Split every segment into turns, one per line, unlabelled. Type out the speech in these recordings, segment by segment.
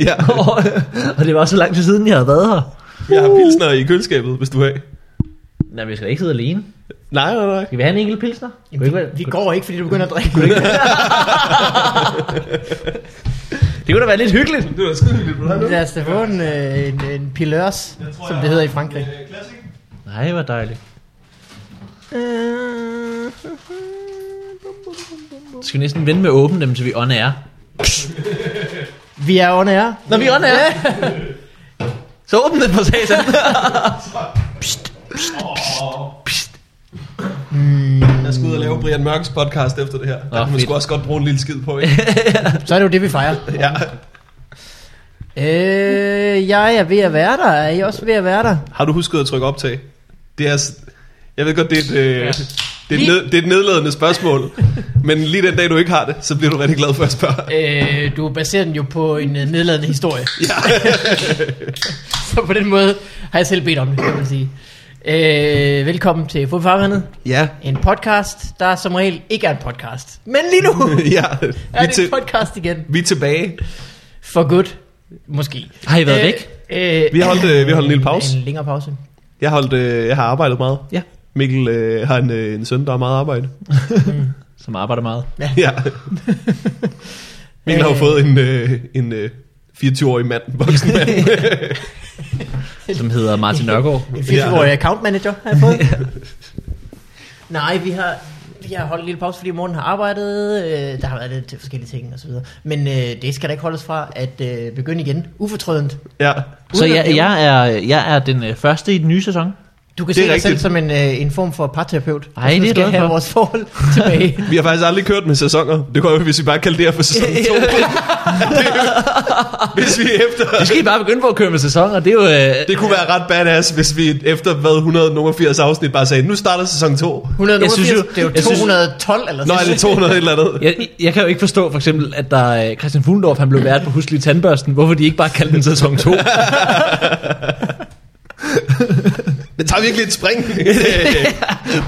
ja.
og det var så lang tid siden, jeg havde været her.
Jeg har pilsner i køleskabet, hvis du vil.
Nej, vi skal da ikke sidde alene.
Nej, nej, nej.
Skal vi have en enkelt pilsner? Kunne ikke være-
Vi går ikke, fordi du begynder at drikke.
Det kunne da være lidt hyggeligt.
Det var skide hyggeligt, du
Lad os da få en, øh, en, en pilørs, som det hedder i Frankrig.
Nej, hvor dejligt.
Øh,
Skal vi næsten vente med at åbne dem, til vi on air.
Vi er under jer.
Når vi er on air. Så åbn det for satan.
Jeg skal ud og lave Brian Mørks podcast efter det her. Der
Nå,
kunne man
fedt.
sgu også godt bruge en lille skid på, ikke?
Så er det jo det, vi fejrer.
ja.
Øh, jeg er ved at være der. Er I også ved at være der?
Har du husket at trykke optag? Det er... s- Jeg ved godt, det er et, øh, det er et,
Lige-
ned, det er et nedladende spørgsmål. Men lige den dag, du ikke har det, så bliver du rigtig glad for at spørge.
Øh, du baserer den jo på en øh, nedladende historie.
Ja.
Så på den måde har jeg selv bedt om det, kan man sige. Øh, velkommen til Fodfarvandet.
Ja.
En podcast, der som regel ikke er en podcast. Men lige nu
ja. Vi,
er
er
det
til,
en podcast igen.
vi er tilbage.
For godt, måske.
Har I været væk?
Øh,
Vi har holdt, øh, vi har holdt en lille pause.
En længere pause.
Jeg har, holdt, øh, jeg har arbejdet meget.
Ja.
Mikkel øh, har en, øh, en søn, der har meget arbejde.
Som arbejder meget.
Ja. Mikkel har jo
Øh.
fået en, øh, en øh, 24-årig mand, voksen mand.
Som hedder Martin Nørgaard.
En 24-årig account manager har jeg fået. Nej, vi har, vi har holdt en lille pause, fordi morgen har arbejdet. Øh, der har været lidt til forskellige ting osv. Men øh, det skal da ikke holdes fra at øh, begynde igen. Ufortrødent.
Ja.
Så
Uden at
jeg,
nævne-
jeg, er, jeg er den øh, første i den nye sæson.
Du kan
Det
se
er
dig
rigtigt.
selv som en, øh, en form for parterapeut.
Ej, det er jeg
skal
glad
have
for.
vores forhold tilbage.
Vi har faktisk aldrig kørt med sæsoner. Det kunne være, hvis vi bare kaldte det her for sæson 2. hvis vi efter...
Det skal I bare begynde på at køre med sæson, og det er jo... Øh,
Det kunne være ret badass, hvis vi efter hvad 180 afsnit bare sagde, nu starter sæson 2.
180,
Jeg synes jo-
det er jo
jeg synes-
212 eller
Nå,
sådan
eller 200 et eller andet.
jeg, jeg kan jo ikke forstå for eksempel, at der øh, Christian Fuglendorf, han blev vært på Huslige Tandbørsten. Hvorfor de ikke bare kaldte den sæson 2?
Det tager virkelig et spring.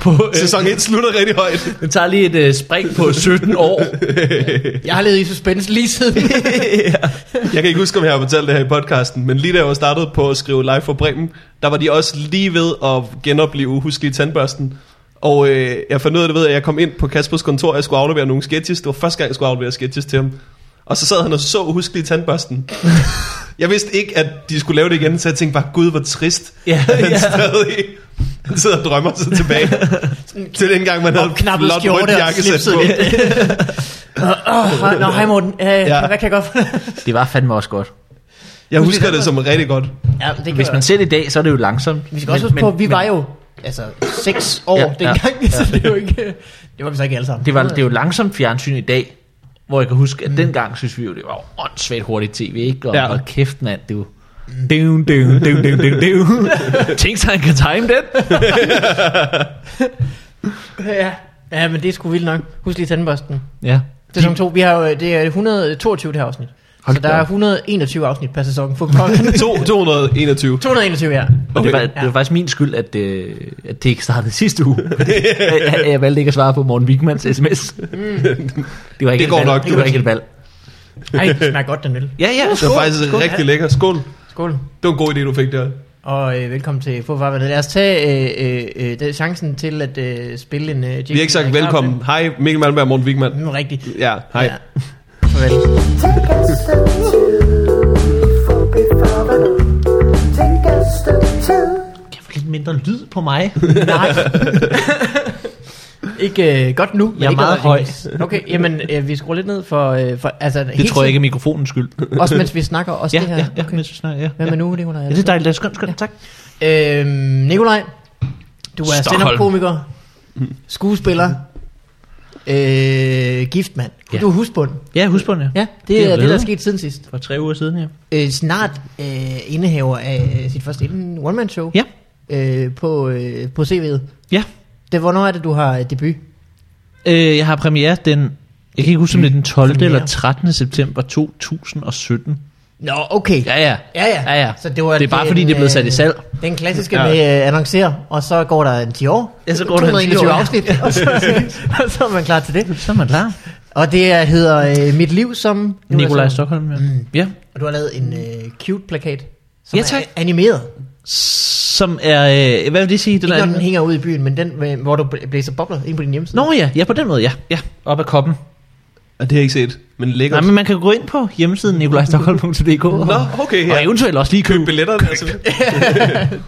På, øh,
sæson 1 slutter rigtig højt.
den tager lige et øh, spring på 17 år.
Jeg har levet i suspense lige siden.
Jeg kan ikke huske, om jeg har fortalt det her i podcasten, men lige da jeg var startet på at skrive live for Bremen, der var de også lige ved at genopleve Huslige Tandbørsten. Og øh, jeg fandt ud af det ved, at jeg kom ind på Kaspers kontor, og jeg skulle aflevere nogle sketches. Det var første gang, jeg skulle aflevere sketches til ham. Og så sad han og så Huslige Tandbørsten. jeg vidste ikke, at de skulle lave det igen, så jeg tænkte bare, gud, hvor trist.
Ja,
at han
ja.
stadig han sidder og drømmer sig tilbage til dengang, man havde
Opknappet
flot
skjorte
rødt
og
jakkesæt
slipset
på.
Åh, Nå, hej Morten. Øh,
Ja.
ja. Hvad kan jeg gøre for
Det var fandme også godt.
Jeg husker det som rigtig godt.
ja, det kan
Hvis man ser det i dag, så er det jo langsomt.
Vi skal også huske på, at vi var jo altså, seks år
Ja,
ja,
ja.
dengang, ja, så det er jo ikke... Det var vi så ikke alle sammen.
Det, var, det er jo langsomt fjernsyn i dag, hvor jeg kan huske, at dengang synes vi jo, det var åndssvagt hurtigt tv, ikke? Og,
Ja.
ja. og kæft, mand, det var... Dun, dun, dun, dun, dun, dun. Tænk sig, han kan time den.
Ja. ja, men det er sgu vildt nok. Husk lige tandbørsten.
Ja.
Sæson 2, vi har jo, det er 122 det her afsnit.
Hold
så der
da
er
op.
121 afsnit per sæson. For
To- 221.
221, ja.
Og det, var,
Okay.
det var faktisk min skyld, at, øh, at det ikke startede sidste uge. jeg, jeg valgte ikke at svare på Morten Wigmans sms. Det, var ikke
Det
et
går
valg.
nok,
Det
du-
var ikke et valg.
Ej, det smager godt, den øl.
Ja, ja.
Det var faktisk
skål.
rigtig lækker. Skål.
Skål.
Det var en god idé, du fik der.
Og øh, velkommen til Fodfarvandet. Lad os tage øh, øh, øh, den chancen til at øh, spille en øh, jingle.
Vi har ikke sagt velkommen. Hej, Mikkel Malmberg og Morten Wigman.
Mm, rigtigt.
Ja, hej.
Ja. Farvel.
Take us to two for before the Take us to two.
Kan jeg få lidt mindre lyd på mig?
Nej. ikke øh, godt nu. men
Jeg er
ikke
meget
noget
høj.
engelsk. Okay, jamen øh, vi skruer lidt ned for... Øh, for altså,
Det tror jeg ikke er mikrofonens skyld.
Også mens vi snakker også
Ja,
det her.
ja, ja.
Okay.
mens vi snakker, ja,
Hvad
ja.
med nu, Nikolaj?
Ja, det er dejligt. Det er skønt, skønt. Tak.
Øhm, Nikolaj, du er
Stockholm.
stand-up-komiker, skuespiller, øh, giftmand.
Ja.
Ja. Du er husbund.
Ja, husbund, ja.
Ja, det,
Det er
det er det, der er
blevet.
sket siden sidst.
For tre uger siden, ja.
Øh, snart øh, indehaver af øh, sit første inden- one-man-show
Ja.
øh, på, øh, på CV'et.
Ja.
Det, hvornår er det, du har øh, debut?
Øh, jeg har premiere den... Jeg kan ikke huske, om det er den 12.
Premiere.
eller 13. september 2017.
Nå, okay.
Ja, ja.
Ja, ja.
Ja, ja.
Så det, var
Det er bare,
den,
fordi det er blevet sat i
øh,
salg.
Den klassiske
Ja.
ja. med øh, annoncer, og så går der en 10 år.
Ja, så går der en 10 år, ja.
afsnit, og så, og så er man klar til det.
Så er man klar.
Og det er- hedder øh, Mit Liv som...
Nikolaj Stockholm, ja.
Mm.
ja.
Og du har lavet en øh, cute plakat, som
Ja,
ja,
tak.
er animeret.
Som er, øh, hvad vil det sige? Den
Ikke
er,
når den hænger ud i byen, men den, øh, hvor du bl- blæser bobler ind på din hjemmeside.
Nå ja, ja, på den måde, ja. ja. Op ad koppen.
Og det har jeg ikke set, men lækkert.
Nej, men man kan gå ind på hjemmesiden nikolajstockholm.dk og,
Nå, okay,
og
ja.
eventuelt også lige købe
Billetterne, altså.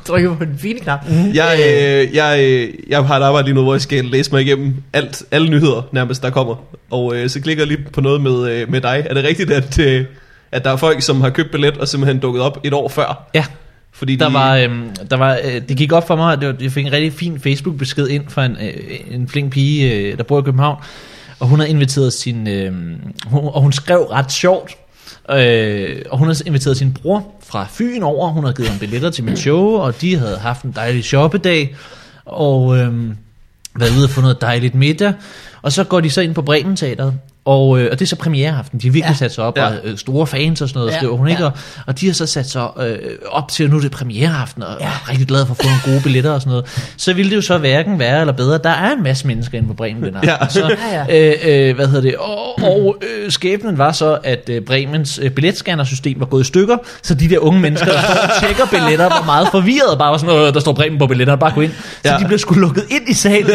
Trykker på den fine knap.
Jeg, øh, jeg, øh, jeg har et arbejde lige nu, hvor jeg skal læse mig igennem alt, alle nyheder nærmest, der kommer. Og øh, så klikker jeg lige på noget med, øh, med dig. Er det rigtigt, at, øh, at der er folk, som har købt billet og simpelthen dukket op et år før?
Ja,
Fordi
der
de,
var, øhm, der var, øh, det gik op for mig, at det var, jeg fik en rigtig fin Facebook-besked ind fra en, øh, en flink pige, øh, der bor i København, og hun havde inviteret sin, øh, hun, og hun skrev ret sjovt, øh, og hun havde inviteret sin bror fra Fyn over, hun havde givet ham billetter til min show, og de havde haft en dejlig shoppedag, og øh, været ude og få noget dejligt middag, og så går de så ind på Bremen Teateret, og, øh, og det er så premiereaften, de har virkelig ja.
Ja.
sat sig op,
Ja.
ja. og øh, store fans og sådan noget,
Ja,
ja. skriver hun ikke,
ja.
og og de har så sat sig øh, op til, at nu er det premiereaften, og ja. er rigtig glade for at få nogle gode billetter og sådan noget. Så ville det jo så hverken være eller bedre. Der er en masse mennesker inde på Bremen den aften.
Ja.
Så, øh, øh, hvad hedder det? Og, og øh, skæbnen var så, at øh, Bremens øh, billetscannersystem var gået i stykker, så de der unge mennesker, der står og tjekker billetter, var meget forvirrede. Bare var sådan, øh, der står Bremen på billetterne, bare gå ind. Så
Ja.
ja. de blev sgu lukket ind i salen. Og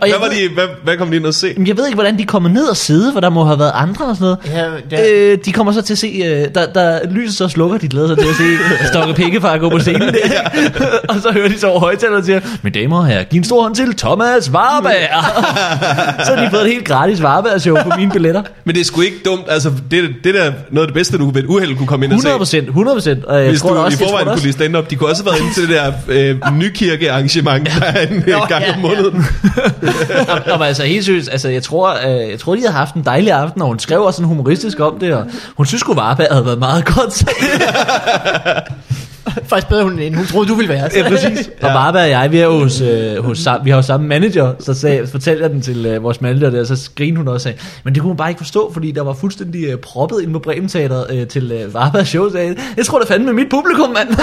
Hvad, var de, hvad, hvad kom de ind og se?
Jamen, Jeg ved ikke, hvordan de er kommet ned og sidde, for der må have været andre og sådan noget.
Ja,
ja. Øh, de kommer så til at se, øh, der, der lyset så slukker, de glæder sig til at se Stokke Pikkefar gå på scenen der. ikke? og så hører de så over højtalerne og siger, mine damer og herrer, giv en stor hånd til Thomas Warberg. så har de fået et helt gratis Warberg-show på mine billetter.
Men det er sgu ikke dumt. Altså, det, det er da noget af det bedste, du ved et uheld kunne komme ind og se.
100 procent, 100 procent. Og jeg
Hvis du
tror da
også, i
også, jeg tror
forvejen
da
kunne
også,
lide stand-up, de kunne også have været inde til det der øh, nykirkearrangement, der er en øh, gang
ja,
om måneden.
Nå, nå, men altså helt seriøst, altså jeg tror, øh, jeg tror, de havde haft en dejlig aften, og hun skrev også sådan humoristisk om det, og hun synes sgu, Varberg havde været meget godt sat.
Faktisk bedre, hun, end hun troede, du ville være. Så.
Ja, præcis. Og Barbara og jeg, vi er jo hos, øh, hos sam, vi har jo samme manager, så sagde, fortalte jeg den til øh, vores manager der, så grinede hun også og sagde, men det kunne hun bare ikke forstå, fordi der var fuldstændig øh, proppet inde på Bremen Teateret øh, til øh, Barbara show, sagde, jeg, jeg tror da fandme mit publikum, mand.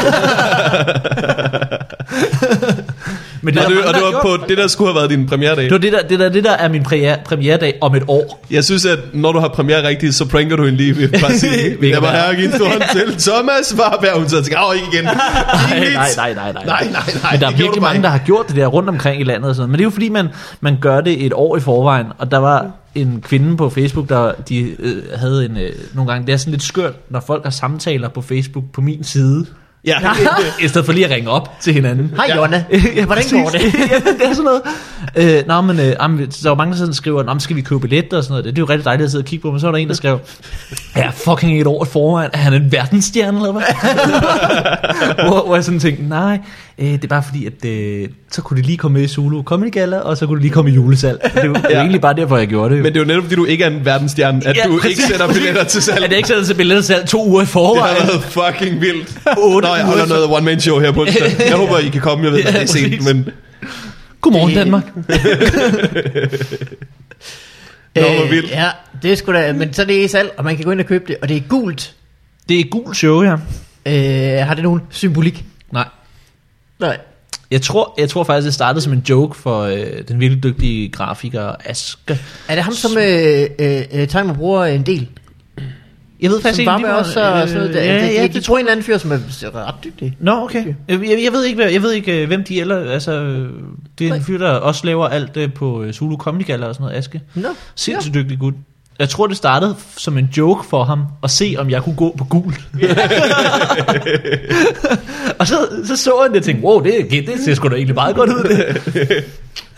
men det,
Og
er
det,
der
og det
mange, der
var
gjorde.
på det, der skulle have været din premieredag.
det var det der, det der, det der er min præ- premieredag om et år.
Jeg synes, at når du har premiere rigtigt, så pranker du hende lige ved bare sige,
Ved
jeg var
hvad?
her og give en stor hånd til Thomas Warberg. Hun så tænker, åh, ikke igen.
Nej,
Pinligt.
nej, nej, nej, nej.
Nej, nej, nej,
Men der
det
er
gjorde du
virkelig
bare
mange,
ikke.
der har gjort det der rundt omkring i landet og sådan noget. Men det er jo fordi, man, man gør det et år i forvejen. Og der var en kvinde på Facebook, der de, øh, havde en, øh, nogle gange... Det er sådan lidt skørt, når folk har samtaler på Facebook på min side.
Ja,
I stedet for lige at ringe op til hinanden.
Hej, Jonna.
Ja,
Hvordan går det?
ja, det er sådan noget. Øh, nå, men øh, jamen, der var mange, der sådan skriver, nå, men skal vi købe billetter og sådan noget. Det er jo rigtig dejligt at sidde og kigge på, men så var der en, der skrev, ja, fucking et år foran, er han en verdensstjerne eller hvad? hvor, hvor jeg sådan tænkte, nej, øh, det er bare fordi, at øh, så kunne det lige komme med i Zulu Comedy Gala, og så kunne det lige komme i julesal. Det er jo, det er jo
Ja.
egentlig bare derfor, jeg gjorde det. Jo.
men det er jo netop, fordi du ikke er en verdensstjerne, at
Ja,
du ikke
præcis.
sætter billetter til salg.
at jeg
Det
ikke sætter til billetter selv to uger i forvejen.
har været fucking vildt.
Otte
Nå, jeg holder
uger.
noget one-man-show her på onsdag. Jeg håber, I kan komme. Jeg ved, at det er sent,
præcis.
men...
Godmorgen, Danmark.
Nå, hvor vildt.
Øh, ja, det er sgu da, men så er det i salg, og man kan gå ind og købe det, og det er gult.
Det er gul show her.
Øh, har det nogen symbolik?
Nej.
Nej.
Jeg tror, jeg tror faktisk, det startede som en joke for øh, den virkelig dygtige grafiker Aske.
Er det ham, som øh, øh, øh, timer bruger en del?
Jeg ved faktisk
Som
ikke
bare med
lige,
også og sådan noget. Der.
Øh, Ja, ja,
jeg,
det
tror en eller anden fyr, som er ret dygtig.
Nå, okay. Jeg, jeg, jeg ved ikke, hvad- jeg ved ikke øh, hvem de eller... Altså, øh, det er en fyr, der også laver alt øh, på øh, Zulu Comedy Gala og sådan noget, Aske.
Nå.
Sindssygt dygtig gut. Jeg tror, det startede f- som en joke for ham, at se, om jeg kunne gå på gul. og så, så så han det og tænkte, wow, det, det ser sgu da egentlig meget godt ud. Det.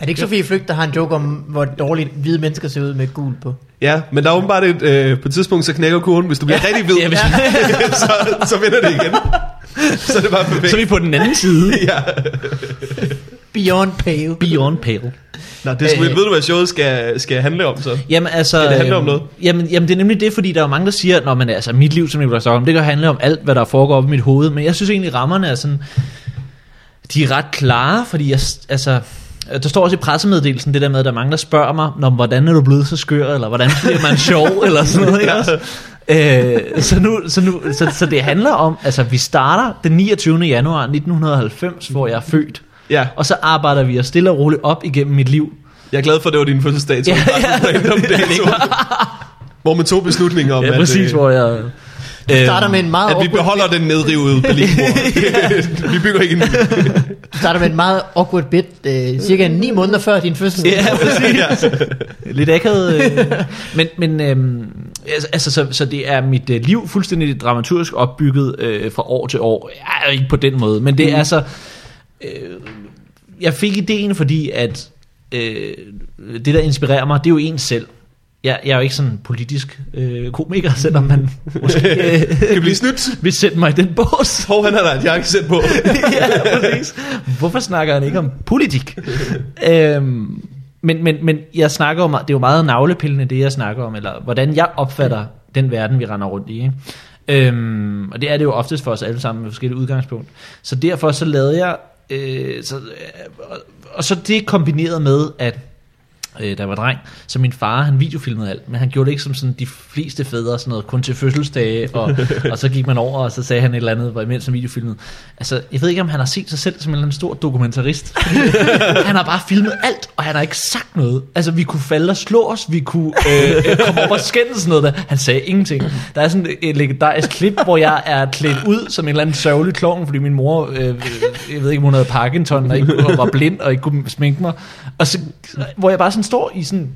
Er det ikke Sofie Flygt, der har en joke om, hvor dårligt hvide mennesker ser ud med gul på?
Ja, men der er åbenbart et... Øh, på et tidspunkt, så knækker kurven. Hvis du bliver rigtig hvid,
Ja, hvis,
så, så vinder det igen. Så er det bare perfekt.
så er vi på den anden side.
Ja.
Beyond pale.
Beyond pale.
Nå, det er sgu
Øh.
vildt. Ved du, hvad showet skal, skal handle om, så?
Jamen altså...
Skal det handle om
øhm,
noget?
Jamen, jamen det er nemlig det, fordi der er jo mange, der siger, Nå, men altså mit liv som Nikolaj Stockholm, det kan handle om alt, hvad der foregår op i mit hoved. Men jeg synes egentlig, rammerne er sådan... De er ret klare, fordi jeg... s- Altså, øh, der står også i pressemeddelelsen det der med, at der er mange, der spørger mig, Nå, men hvordan er du blevet så skør, eller hvordan bliver man sjov, eller sådan noget, ikke også? Øh, så, nu, så, nu, så, så det handler om, altså vi starter den 29. januar 1990, hvor jeg er født.
Ja.
Og så arbejder vi os stille og roligt op igennem mit liv.
Jeg er glad for, at det var din fødselsdag, så
Ja,
ja,
ja.
ja. Random day, to, hvor man tog beslutninger om,
Ja, præcis,
at, øh,
hvor Øhm, jeg...
Du starter med en meget
at vi
awkward,
beholder den nedrivede Berlinmur. vi bygger ikke en ny.
du starter med en meget awkward bit, øh, cirka 9 måneder før din fødsel.
Ja, præcis.
ja.
Lidt akavet. Øh. Men, men øhm, altså, altså, så, så det er mit øh, liv fuldstændig dramaturgisk opbygget øh, fra år til år. Jeg er ikke på den måde, men det mm. er så... Øh, jeg fik ideen, fordi at øh, det, der inspirerer mig, det er jo en selv. Jeg, jeg er jo ikke sådan politisk øh, komiker, selvom man måske øh,
kan blive snydt.
vil sætte mig i den bås.
Hov, han har da et jakkesæt på.
ja, præcis. Hvorfor snakker han ikke om politik? øhm, men, men, men jeg snakker om, det er jo meget navlepillende, det jeg snakker om, eller hvordan jeg opfatter den verden, vi render rundt i. Ikke? Øhm, og det er det jo oftest for os alle sammen med forskellige udgangspunkter. Så derfor så lavede jeg, øh, så, øh, og, og så det kombineret med, at øh, der var dreng, så min far, han videofilmede alt, men han gjorde det ikke som sådan de fleste fædre, sådan noget, kun til fødselsdage, og, og så gik man over, og så sagde han et eller andet, hvor imens han videofilmede. Altså, jeg ved ikke, om han har set sig selv som en eller anden stor dokumentarist. han har bare filmet alt, og han har ikke sagt noget. Altså, vi kunne falde og slå os, vi kunne øh, øh, komme over og skændes sådan noget der. Han sagde ingenting. Der er sådan et legendarisk klip, hvor jeg er klædt ud som en eller anden sørgelig klovn, fordi min mor, øh, øh, jeg ved ikke, om hun havde Parkinson, og ikke og var blind, og ikke kunne sminke mig. Og så, hvor jeg bare sådan står i sådan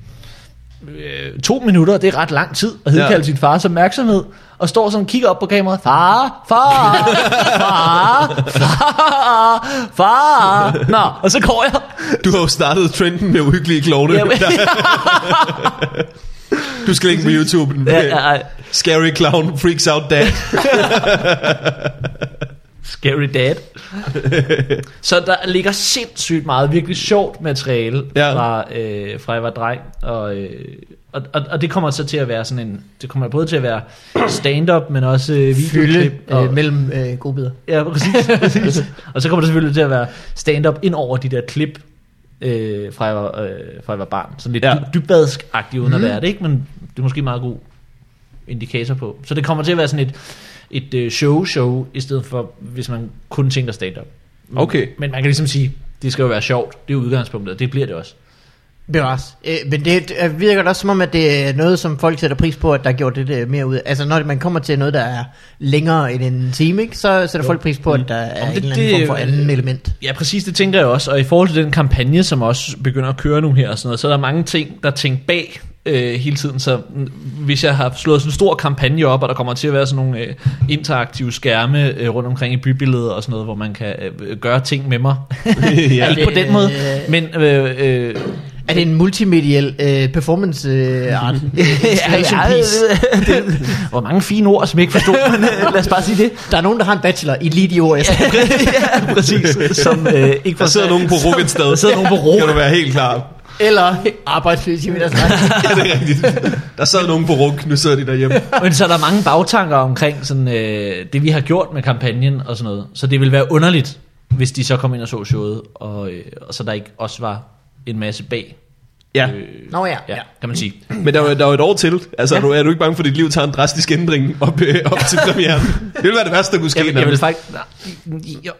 øh, to minutter, det er ret lang tid, at hedkalde ja.
Ja.
sin fars opmærksomhed, og står sådan og kigger op på kameraet, far, far, far, far, far, nå, og så går jeg.
Du har jo startet trenden med uhyggelige klovne.
Ja, men-
Du skal ikke på YouTube.
Ja, ja, ja.
Scary clown freaks out dad.
Scary dad. så der ligger sindssygt meget virkelig sjovt materiale ja.
Ja.
fra, øh, fra jeg var dreng. Og, øh, og, og, og det kommer så til at være sådan en... Det kommer både til at være stand-up, men også øh, videoklip.
Fylde
og,
øh, mellem øh, gode bidder.
Ja, præcis. præcis. og så kommer der selvfølgelig til at være stand-up ind over de der klip, øh, fra, jeg var, øh, fra jeg var barn. Sådan lidt
Ja.
ja. dybvadsk-agtigt uden mm. at være det, ikke? men det er måske en meget god indikator på. Så det kommer til at være sådan et, et øh, show-show, i stedet for, hvis man kun tænker stand-up. Men-
Okay.
Men man kan ligesom sige, det skal jo være sjovt. Det er udgangspunktet, og det bliver det også.
Bevares. Øh, men det øh, virker da også som om, at det er noget, som folk sætter pris på, at der er gjort lidt øh, mere ud af. Altså når man kommer til noget, der er længere end en time, ikke, så sætter jo. folk pris på, at der er
Mm. Om
det,
det-
en eller anden
det- øh,
form for anden element.
Ja, præcis, det tænker jeg også. Og i forhold til den kampagne, som også begynder at køre nu her og sådan noget, så er der mange ting, der er tænkt bag øh, hele tiden. Så mm, hvis jeg har slået sådan en stor kampagne op, og der kommer til at være sådan nogle øh, interaktive skærme øh, rundt omkring i bybilledet og sådan noget, hvor man kan øh, gøre ting med mig. ja,
ja.
Ikke på den måde,
Øh.
men... Øh, øh,
Er det en multimediel øh, performance øh, art? Installation piece?
hvor mange fine ord, som jeg ikke forstod, men øh, lad os bare sige det.
Der er nogen, der har en bachelor i lige de ord, jeg sagde.
ja, præcis. Som, øh, ikke
Der sidder nogen på Ruk et sted.
Der sidder nogen på Ruk.
Kan du være helt klar?
Eller arbejdsløs i middagsret.
Ja, det er rigtigt. Der sad nogen på Ruk, nu sidder de derhjemme.
Men så er der mange bagtanker omkring sådan, øh, det, vi har gjort med kampagnen og sådan noget. Så det ville være underligt, hvis de så kom ind og så showet, og, øh, og så der ikke også var en masse bag.
Ja.
Øh,
Nå ja,
ja,
ja.
kan man sige.
Men der er jo- der er jo et år til. Altså, ja. er, du, er du ikke bange for, at dit liv tager en drastisk ændring op, øh, op til premieren? Det ville være det værste, der kunne ske.
Jeg, vil- jeg vil
nærmest.
faktisk...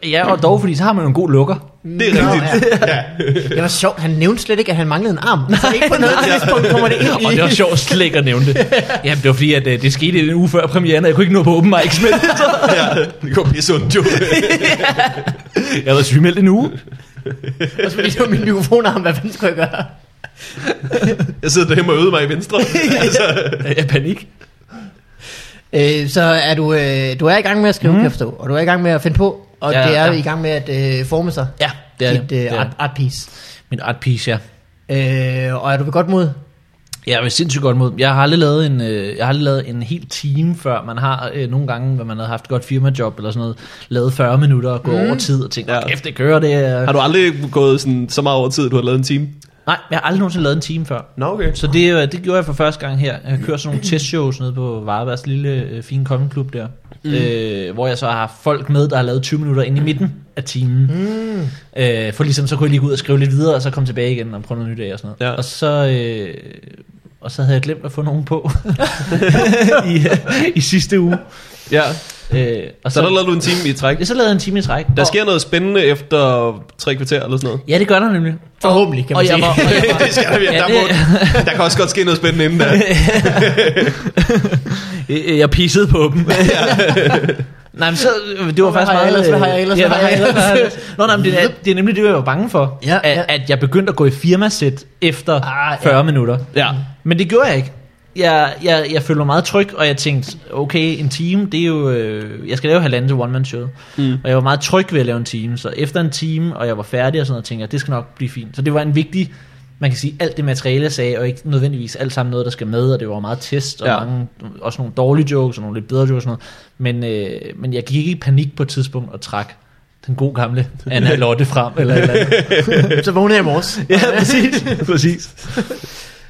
nej, Ja, og dog, fordi så har man jo en god lukker.
Det er rigtigt. Ja.
Det var sjovt, han nævnte slet ikke, at han manglede en arm. Så ikke på noget tidspunkt kommer det ind i.
Og det var sjovt slet ikke at nævne det. Jamen, det var fordi, at øh, det skete en uge før premieren, og jeg kunne ikke nå på open mics med det.
ja. Det går pisse ondt, jo.
Jeg var sygemeldt en uge.
Også fordi det var min mikrofonarm, hvad fanden skulle jeg gøre?
Jeg sidder derhjemme og øder mig i venstre. Altså,
Jeg panik.
Øh, så er du, øh, du er i gang med at skrive, mm. kan jeg forstå, og du er i gang med at finde på, og
Ja,
ja, det er
ja.
ja. i gang med at øh, forme sig.
Ja, det er det.
dit,
det.
øh,
er
art,
det.
art piece.
Min art piece, ja.
Øh, og er du ved godt mod?
Jeg er sindssygt godt mod. Jeg har aldrig lavet en, øh, jeg har aldrig lavet en hel time før. Man har øh, nogle gange, hvor man har haft et godt firmajob eller sådan noget, lavet 40 minutter og gået mm. over tid og tænkt,
Mhm. Ja.
ja. kæft, det kører det. er-"
har du aldrig gået sådan, så meget over tid, at du har lavet en time?
Nej, jeg har aldrig nogensinde lavet en time før.
Nå, okay.
Så det, øh, det gjorde jeg for første gang her. Jeg kører sådan nogle testshows nede på Varebergs lille øh, fine comedy-klub der. Mm. Øh, hvor jeg så har folk med, der har lavet 20 minutter ind i midten af timen. Mm. Øh, for ligesom, så kunne jeg lige gå ud og skrive lidt videre, og så komme tilbage igen og prøve noget nyt af og sådan noget.
Ja.
Og så... Øh, og så havde jeg glemt at få nogen på i, i sidste uge.
Ja.
Øh, og
Så der lavede du en time i træk.
Ja, så lavede jeg en time i træk.
Der
Og-
sker noget spændende efter tre kvarter eller sådan noget.
Ja, det gør der nemlig.
Forhåbentlig, kan man
og jeg
sige.
var- og jeg var-
det skal der, ja,
Ja,
der,
det-
må, der kan også godt ske noget spændende inden der.
Øh, Jeg pissede på dem. nej, men så, øh, det var
Hvad
faktisk
har jeg
meget...
ellers?
øh,
Hvad har jeg ellers?
Ja,
Hvad
hvad
har
har jeg
jeg
ellers? Hvad har jeg
ellers?
ellers? Nå, nej, men det, er, det er nemlig det, jeg var bange for.
Ja,
at,
ja.
at jeg begyndte at gå i firmasæt efter
Ah,
ah,
ja.
40 minutter.
Ja.
Men det gjorde jeg ikke. Jeg, jeg, jeg følte mig meget tryg, og jeg tænkte, okay, en time, det er jo... Øh, jeg skal lave halvanden til one-man-show. Mm. Og jeg var meget tryg ved at lave en time. Så efter en time, og jeg var færdig og sådan noget, tænkte jeg, det skal nok blive fint. Så det var en vigtig... Man kan sige, alt det materiale, jeg sagde, og ikke nødvendigvis alt sammen noget, der skal med, og det var meget test, og
Ja.
ja. mange, også nogle dårlige jokes, og nogle lidt bedre jokes og sådan noget. Men, øh, men jeg gik ikke i panik på et tidspunkt og trak den gode gamle Anna Lotte frem, eller et eller andet.
Så vågnede jeg i morges.
ja, præcis. præcis.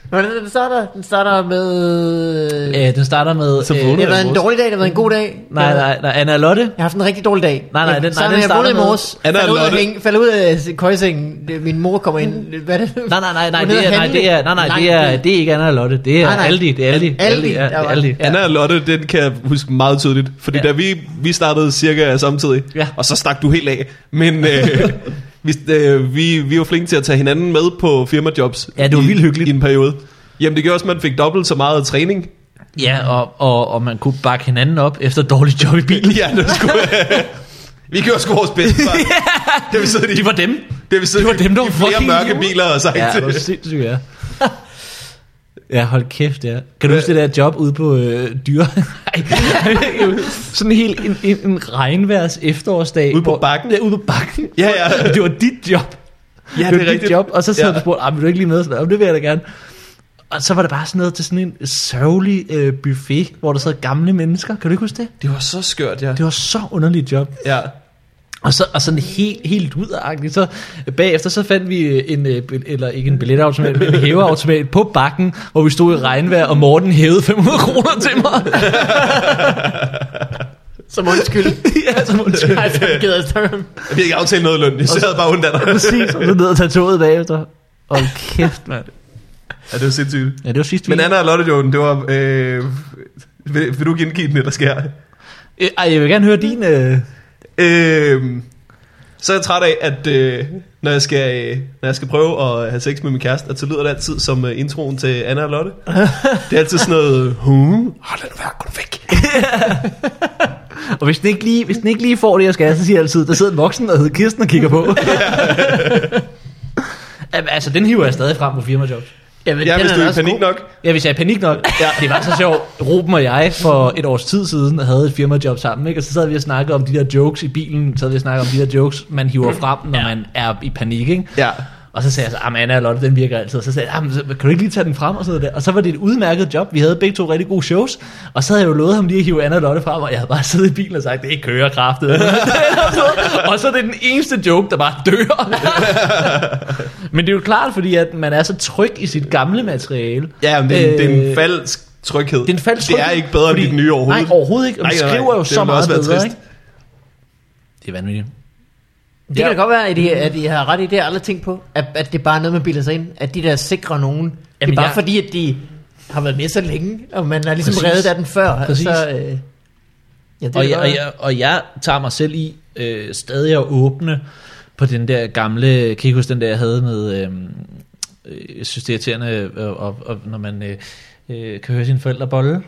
Hvordan er det, den starter? Den starter med... Øh,
Øh, den starter med...
Så
øh,
vågnede
det
jeg
har
i
været en
morges.
dårlig dag, det har været en god dag.
Nej, nej, nej, Anna Lotte.
Jeg har haft en rigtig dårlig dag.
Nej, nej, den- nej,
så når
den
jeg
starter
vågnede i
med-
morges,
Anna
falder ud, af
Lotte.
hæng, falder ud af køjsengen, min mor kommer ind. Hvad er det?
Mm. Nej, nej, nej, nej,
Hun
det
hedder
er, nej,
Hanne.
det er, nej, nej, det er, det er ikke Anna Lotte, det er
Nej, nej.
Aldi, det er Aldi.
Aldi,
ja, det
der
er
var
Aldi.
den.
Anna og Lotte, den kan jeg huske meget tydeligt. Fordi ja.
Ja.
da vi, vi startede cirka samtidig,
Ja.
og så stak du helt af. Men øh, vi, øh, vi, vi var flinke til at tage hinanden med på firmajobs.
Ja, det var
i,
vildt hyggeligt.
I en periode. Jamen det gjorde også, at man fik dobbelt så meget træning.
Ja, og, og, og man kunne bakke hinanden op efter dårlig job i bilen.
Ja, det var sgu... vi gjorde sgu vores bedste. Yeah. Det har vi siddet i,
De var dem.
det har vi siddet
det var dem, der
i
var
flere
fucking
mørke
idiot.
biler og sagt. øh,
Ja, det var sindssygt, ja. Ja, hold kæft, ja. Kan du huske det der job ude på øh, dyre? Sådan helt en, en, en regnværs efterårsdag.
Ude på
hvor-
bakken?
Ja, ude på bakken.
Ja, ja.
Det var dit job.
ja,
det, det var dit job. Og så sad
Ja.
ja. du og spurgte, "Ah, vil du ikke lige med? Sådan, "Jo, det vil jeg da gerne. Og så var det bare sådan noget til sådan en sørgelig øh, buffet, hvor der sad gamle mennesker. Kan du ikke huske det?
Det var så skørt, ja.
Det var så underligt job.
ja.
Og, så, og sådan helt, helt udagtigt. Så øh, bagefter så fandt vi øh, en, øh, bil- eller ikke en billetautomat, men en hæveautomat på bakken, hvor vi stod i regnvejr, og Morten hævede 500 kroner til mig.
Som undskyld.
ja, så undskyld.
Nej, så gider jeg større.
Vi havde ikke aftalt noget løn. Vi sad bare undlander.
Præcis, og så ned og tage toget bagefter. Hold kæft, mand.
Ja, det var sindssygt.
Ja, det var sidste
Men
weekend.
Anna og Lotte Jonen, det var... Øh, vil, vil, du ikke indgive den, det der sker?
Øh, Ej, jeg vil gerne høre din... Øh...
Øh, så er jeg træt af, at øh, når, jeg skal, øh, når jeg skal prøve at have sex med min kæreste, at så lyder det altid som øh, introen til Anna og Lotte. Det er altid sådan noget... Hmm, hold da nu være, gå nu væk.
Og hvis den, ikke lige, hvis den ikke lige får det, jeg skal, så siger jeg altid, der sidder en voksen, der hedder Kirsten og kigger på. Jamen, altså, den hiver jeg stadig frem på firmajobs.
Jamen,
Ja,
den
hvis
er
du er i
også
panik
god.
nok.
Ja, hvis jeg er i panik nok. Ja. Det var så sjovt. Ruben og jeg for et års tid siden havde et firmajob sammen, ikke? og så sad vi og snakkede om de der jokes i bilen, så sad vi og snakkede om de der jokes, man hiver frem, når ja. man er i panik. Ikke?
Ja.
Og så sagde jeg så, "Ah, men Anna og Lotte, den virker altid. Og så sagde jeg, "Ah, men så kan du ikke lige tage den frem? Og, sådan noget der. og så var det et udmærket job. Vi havde begge to rigtig gode shows. Og så havde jeg jo lovet ham lige at hive Anna og Lotte frem, og jeg havde bare siddet i bilen og sagt, det kører kraftet. og så er det den eneste joke, der bare dør. men det er jo klart, fordi at man er så tryg i sit gamle materiale.
Ja, men det er, en, det er en
Øh,
falsk tryghed.
det er en falsk
Det er
tryghed,
ikke bedre fordi,
fordi-
end dit nye overhovedet.
Nej, overhovedet ikke. Og
Nej,
man
nej,
skriver jo
det
så
ville
meget
også være
bedre,
trist.
ikke? Det er vanvittigt.
Det kan da godt være, at I, at I har ret i det, jeg aldrig tænkt på, at, at det bare er noget, man bilder sig ind, at de der sikre nogen, Jamen, det er
Jamen,
bare jeg...
jeg-
fordi, at de har været med så længe, og man er ligesom
Præcis.
reddet af den før.
Præcis.
Så, øh, ja, det
og, jeg,
jeg,
og, jeg, og jeg tager mig selv i øh, stadig at åbne på den der gamle, kan I ikke huske den der, jeg havde med, øh, øh, jeg synes det er irriterende, øh, og, og, og, når man øh, øh, kan høre sine forældre bolle.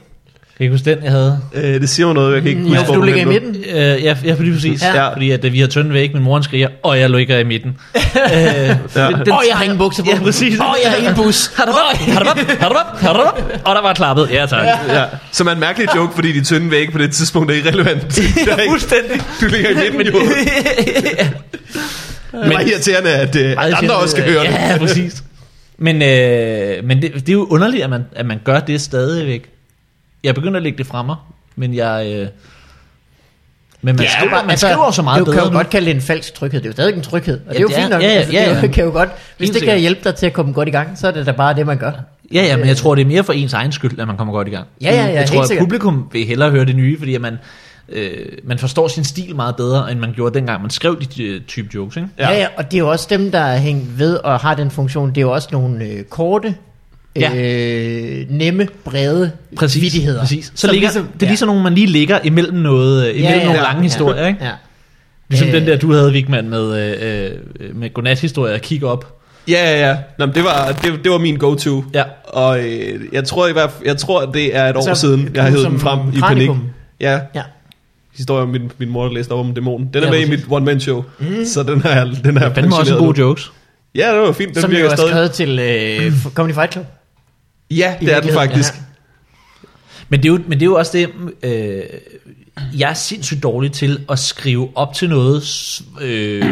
Kan I ikke huske den, jeg havde?
Øh, det siger mig noget, jeg kan ikke huske,
Jo,
hvor
du ligger i
hen nu.
midten.
Øh, ja, ja, lige præcis.
Ja.
Ja. Fordi at, øh, vi har tynd væg, min mor han skriger, og jeg ligger i midten. øh, ja.
Åh, jeg har ingen bukser på.
Ja, præcis.
Åh, jeg har ingen
bus. Har du op, har du op, har du op, har du op. Og der var klappet. Ja, tak. Ja.
Ja, som er en mærkelig joke, fordi de tynde vægge på det tidspunkt er irrelevant. Der er ikke,
Fuldstændig.
du ligger i midten, jo. Det er
Men-
meget irriterende, at uh,
Meget
andre
sjældent,
også skal
øh,
høre det.
Ja, præcis. Men, øh, men det, det er jo underligt, at man, at man gør det stadigvæk. Jeg begynder at lægge det fra mig, men jeg... Øh, men man, ja, skriver, man altså, skriver jo så meget
du kan
bedre
jo
nu.
godt kalde det en falsk tryghed. Det er jo stadig en tryghed. Og det er
Ja,
jo
det er-
fint nok.
ja, ja,
Altså, det er
ja,
jo-
ja.
kan jo godt. Hvis
Helt
det kan
sikkert.
hjælpe dig til at komme godt i gang, så er det da bare det, man gør.
Ja, ja, men jeg tror, det er mere for ens egen skyld, at man kommer godt i gang.
Øh. Ja, ja, ja,
Jeg
helt
tror, at
sikkert.
publikum vil hellere høre det nye, fordi at man, øh, man forstår sin stil meget bedre, end man gjorde dengang, man skrev de øh, type jokes, ikke?
Ja.
Ja. ja, ja, og det er jo også dem, der er hængt ved og har den funktion. Det er jo også nogle øh, korte
Ja.
øh, nemme, brede
Præcis,
vittigheder.
præcis. Så
Som
ligger,
ligesom-
det er ligesom nogle, man lige ligger imellem, noget, øh, imellem ja, ja, nogle lange historier. Ikke?
Ja.
Ligesom
Øh,
den der, du havde, Vigman, med, øh, øh, med godnat-historier at kigge op.
Ja, ja, ja. Nå, men det, var, det, det var min go-to.
Ja.
Og øh, jeg tror i hvert fald, jeg tror, det er et år
Altså,
siden, jeg har
du
hævet
som
den frem i panik.
Kranikum.
Ja,
ja.
historien om min, min mor, der læste op om dæmonen. Den er
Ja,
med i
præcis.
mit one-man-show, mm. så den har jeg, den har jeg
Fandme også
pensioneret
gode
nu.
jokes.
Ja, det var fint. Den
Som jo
virker
er
stadig.
skrevet til
Mm.
øh, f- Comedy Fight Club.
Ja, det er den
virkeligheden,
faktisk.
ja.
Men det, er jo, men det er jo også det, øh, jeg er sindssygt dårlig til at skrive op til noget, s- øh,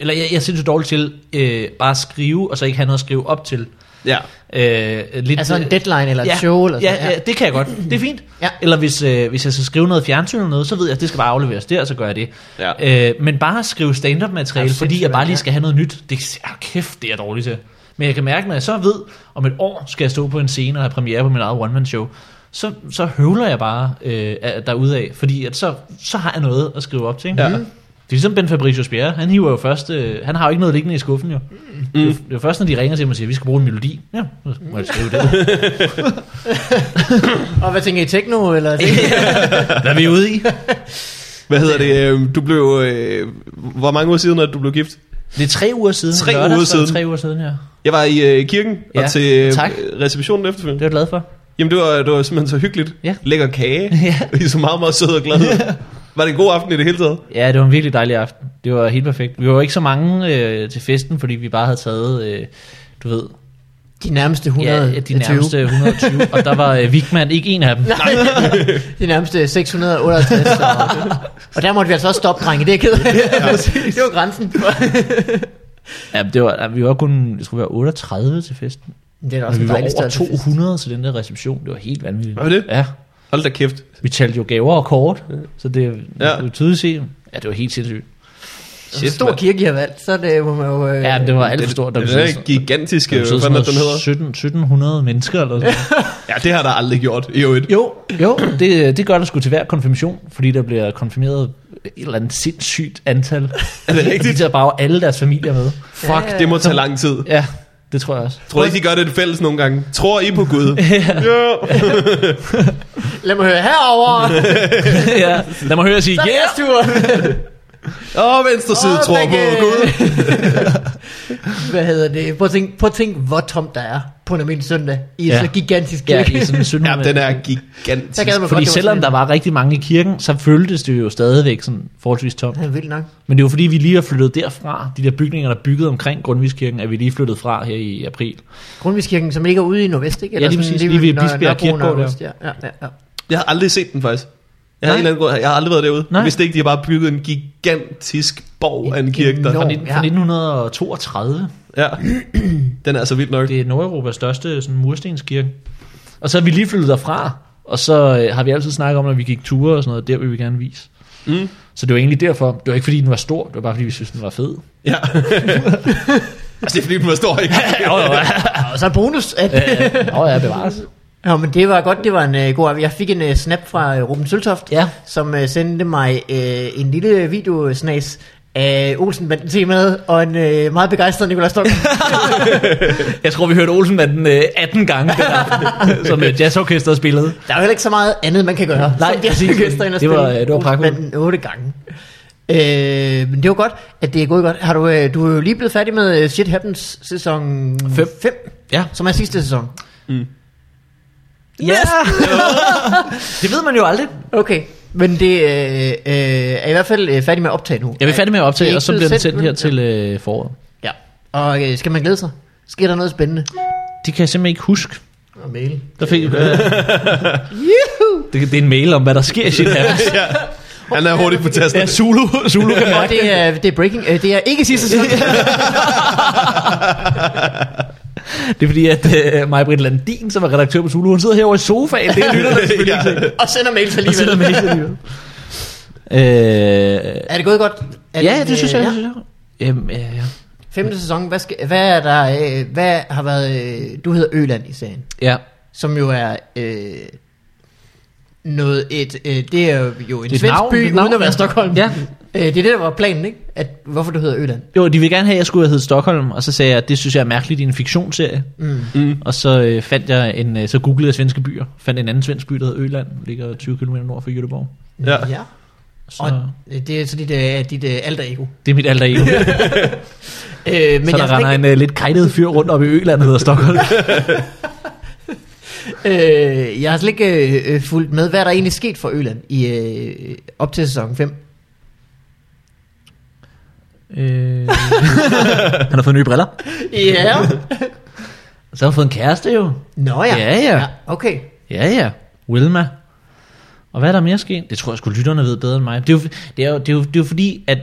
eller jeg, jeg er sindssygt dårlig til øh, bare at skrive, og så ikke have noget at skrive op til.
Ja.
Øh, lidt,
Altså en
øh,
deadline eller et
ja,
show. Eller
ja,
sådan.
ja, det kan jeg godt. Det er fint.
Ja.
Eller hvis, øh, hvis jeg skal skrive noget fjernsyn eller noget, så ved jeg, at det skal bare afleveres der, og så gør jeg det.
Ja.
Øh, men bare at skrive stand-up materiale,
Ja,
ja, fordi
sindssygt,
jeg bare lige
ja.
skal have noget nyt, det er oh, kæft, det er jeg dårlig til. Men jeg kan mærke, når jeg så ved, om et år skal jeg stå på en scene og have premiere på min eget one-man-show, så, så høvler jeg bare øh, derude af, fordi at så, så har jeg noget at skrive op til. Ikke?
Ja.
Mm.
Det er ligesom Ben Fabricius Bjerre, han hiver jo først, øh, han har jo ikke noget liggende i skuffen jo.
Mm.
Det er jo- det er jo først, når de ringer til mig og siger, vi skal bruge en melodi. Ja, så må jeg skrive det.
Og hvad tænker I, techno? Eller det?
Hvad er vi ude i?
Hvad hedder det? øh, Du blev... Øh, hvor mange uger siden, at du blev gift?
Det er tre uger siden.
Tre
Lørdags
uger
var det
siden.
Tre uger siden, ja. Det
Jeg var i øh, kirken ja.
Ja,
og til øh,
tak.
receptionen efterfølgende.
er jeg glad for.
Jamen det var, det var simpelthen så hyggeligt.
Ja.
Lækker kage.
Ja.
I er så meget, meget søde og glade. Var det en god aften i det hele taget?
Ja, det var en virkelig dejlig aften. Det var helt perfekt. Vi var jo ikke så mange øh, til festen, fordi vi bare havde taget, øh, du ved,
De nærmeste 100.
ja, de nærmeste 120. og der var øh, Vigman ikke en af dem.
Nej, de nærmeste 668. Og, og der måtte vi altså også stoppe, drenge. Det er kedeligt. det var grænsen.
Ja, det var, ja, vi var kun, jeg tror, vi var 38 til festen.
det er
Og
Altså,
da også
vi
en
var
dejlig
over
størrelse.
200 til den der reception. Det var helt vanvittigt.
Var det?
Ja.
Hold da kæft.
Vi talte jo gaver og kort, så det,
Ja.
ja. det var tydeligt se. Ja, det var helt sindssygt.
Shit, stor
mand.
kirke, I har valgt. Så det må man jo... Øh,
Ja, det var alt for stort.
Den, den er gigantiske,
Det
hvad fanden er den hedder?
17, 1700 mennesker eller sådan noget.
Ja, det har der aldrig gjort. I øvrigt.
Jo, jo det, det gør der sgu til hver konfirmation, fordi der bliver konfirmeret et eller andet sindssygt antal.
Er det
De
rigtigt?
tager bare alle deres familier med.
Fuck, det må tage lang tid.
Ja, det tror jeg også.
Tror I, de gør det fælles nogle gange? Tror I på Gud? ja.
Lad mig høre herover.
ja. Lad mig høre sige,
Så er det
yeah!
jeres tur.
Åh, venstre side
Åh,
tror på
begge.
Gud.
Hvad hedder det? Prøv at tænke, prøv at tænke hvor tomt der er på en almindelig søndag. I er
Ja.
så gigantisk
Ja,
kirke.
i sådan en
Ja,
1700.
den er gigantisk.
Så gad man
fordi
godt, det var
selvom
sådan
der
en-
var rigtig mange i kirken, så føltes det jo stadigvæk sådan forholdsvis tomt.
Han er vild nok.
Men det er jo fordi, vi lige har flyttet derfra, de der bygninger, der er bygget omkring Grundviskirken, er vi lige flyttet fra her i april.
Grundviskirken, som ligger ude i Nordvest, ikke?
lige præcis, lige ved
Nørre-
Bispebjerg
Nørrebro,
Kirkegård
Nørre- Ja, ja, ja. ja.
Jeg har aldrig set den faktisk. Jeg har,
Nej.
en eller anden grund, jeg har aldrig været derude.
Nej.
Nej. Hvis det ikke, de har bare bygget en gigantisk borg af en kirke. Der.
Fra,
enorm.
nitten- fra
Ja.
1932.
Ja. Den er så vild nok.
Det er Nordeuropas største sådan, murstenskirke. Og så er vi lige flyttet derfra, og så øh, har vi altid snakket om, at vi gik ture og sådan noget, der vil vi gerne vise.
Mm.
Så det var egentlig derfor. Det var ikke fordi, den var stor, det var bare fordi, vi synes den var fed.
Ja. altså, det er fordi, den var stor, ikke?
jo, jo, ja.
Og så bonus, at...
Nå, ja, bevares.
Ja, men det var godt, det var en øh, god Jeg fik en øh, snap fra øh, Ruben Søltoft,
Ja.
som øh, sendte mig øh, en lille videosnas af Olsenbanden temaet og en øh, meget begejstret Nikolaj Stokken.
Jeg tror, vi hørte Olsen af den øh, 18 gange, den aften, som øh, jazzorkestret spillede.
Der er jo heller ikke så meget andet, man kan gøre.
Nej,
som det,
præcis. Det var, øh, det var pragtfuldt.
Men otte gange. Øh, men det var godt, at det er gået godt. Har du, øh, du er jo lige blevet færdig med øh, Shit Happens sæson
Fem.
5,
Ja.
som er sidste sæson.
Yes! det ved man jo aldrig.
Okay, men det øh, øh, er i hvert fald øh, færdig med at optage nu.
Jeg vil færdig med at
Det
optage,
er
og så
ikke
bliver den
blevet
sendt her til
sendt,
øh, foråret.
Ja, og øh, skal man glæde sig? Sker der noget spændende?
Det kan jeg simpelthen ikke huske.
Og mail.
Der fik, øh, det, det er en mail om, hvad der sker i shit happens.
ja. Han er hurtigt på
Ja,
tasterne.
Zulu, Zulu kan
Og det er, det er breaking. Øh, det er ikke sidste sæson.
Det er fordi, at øh, Maja Britt Landin, som er redaktør på Zulu, hun sidder herovre i sofaen. Det lytter der selvfølgelig ikke til.
og sender mails
Og sidder
alligevel.
med hele livet. Øh,
Er det gået godt? Er
ja, det
øh,
synes jeg.
ja.
det synes jeg. Jamen, ja, ja.
Femte sæson. Hvad, skal, hvad er der? Øh, hvad har været? Øh, du hedder Øland i serien,
ja.
som jo er øh, noget et. Øh, det er jo en
et
svensk
navn,
by
det er et navn,
uden at være
ja.
Stockholm.
Ja,
Øh, det er det, der var planen, ikke? At, hvorfor du hedder Øland.
Jo, de ville gerne have, at jeg skulle hedde Stockholm, og så sagde jeg, at det synes jeg er mærkeligt i en fiktionsserie.
Mm.
Mm.
Og så øh, fandt jeg en, øh, så googlede jeg svenske byer, fandt en anden svensk by, der hedder Øland, ligger 20 km nord for Göteborg.
Ja.
ja.
Så
Og øh, det er så dit, øh, dit øh, alter ego.
det er mit alter ego.
Øh, men
så
jeg
der
er
render
ikke,
en øh, lidt kajtet fyr rundt op i Øland, der hedder Stockholm.
øh, jeg har slet ikke øh, øh, fulgt med, hvad der egentlig er sket for Øland i, øh, op til sæson 5.
øh, han har fået nye briller.
Ja.
Og så har han fået en kæreste jo.
Nå ja.
Ja, ja.
Okay.
Ja, ja. Wilma. Og hvad er der mere sket? Det tror jeg sgu lytterne ved bedre end mig. Det er jo, det er jo, det er jo, det er jo fordi, at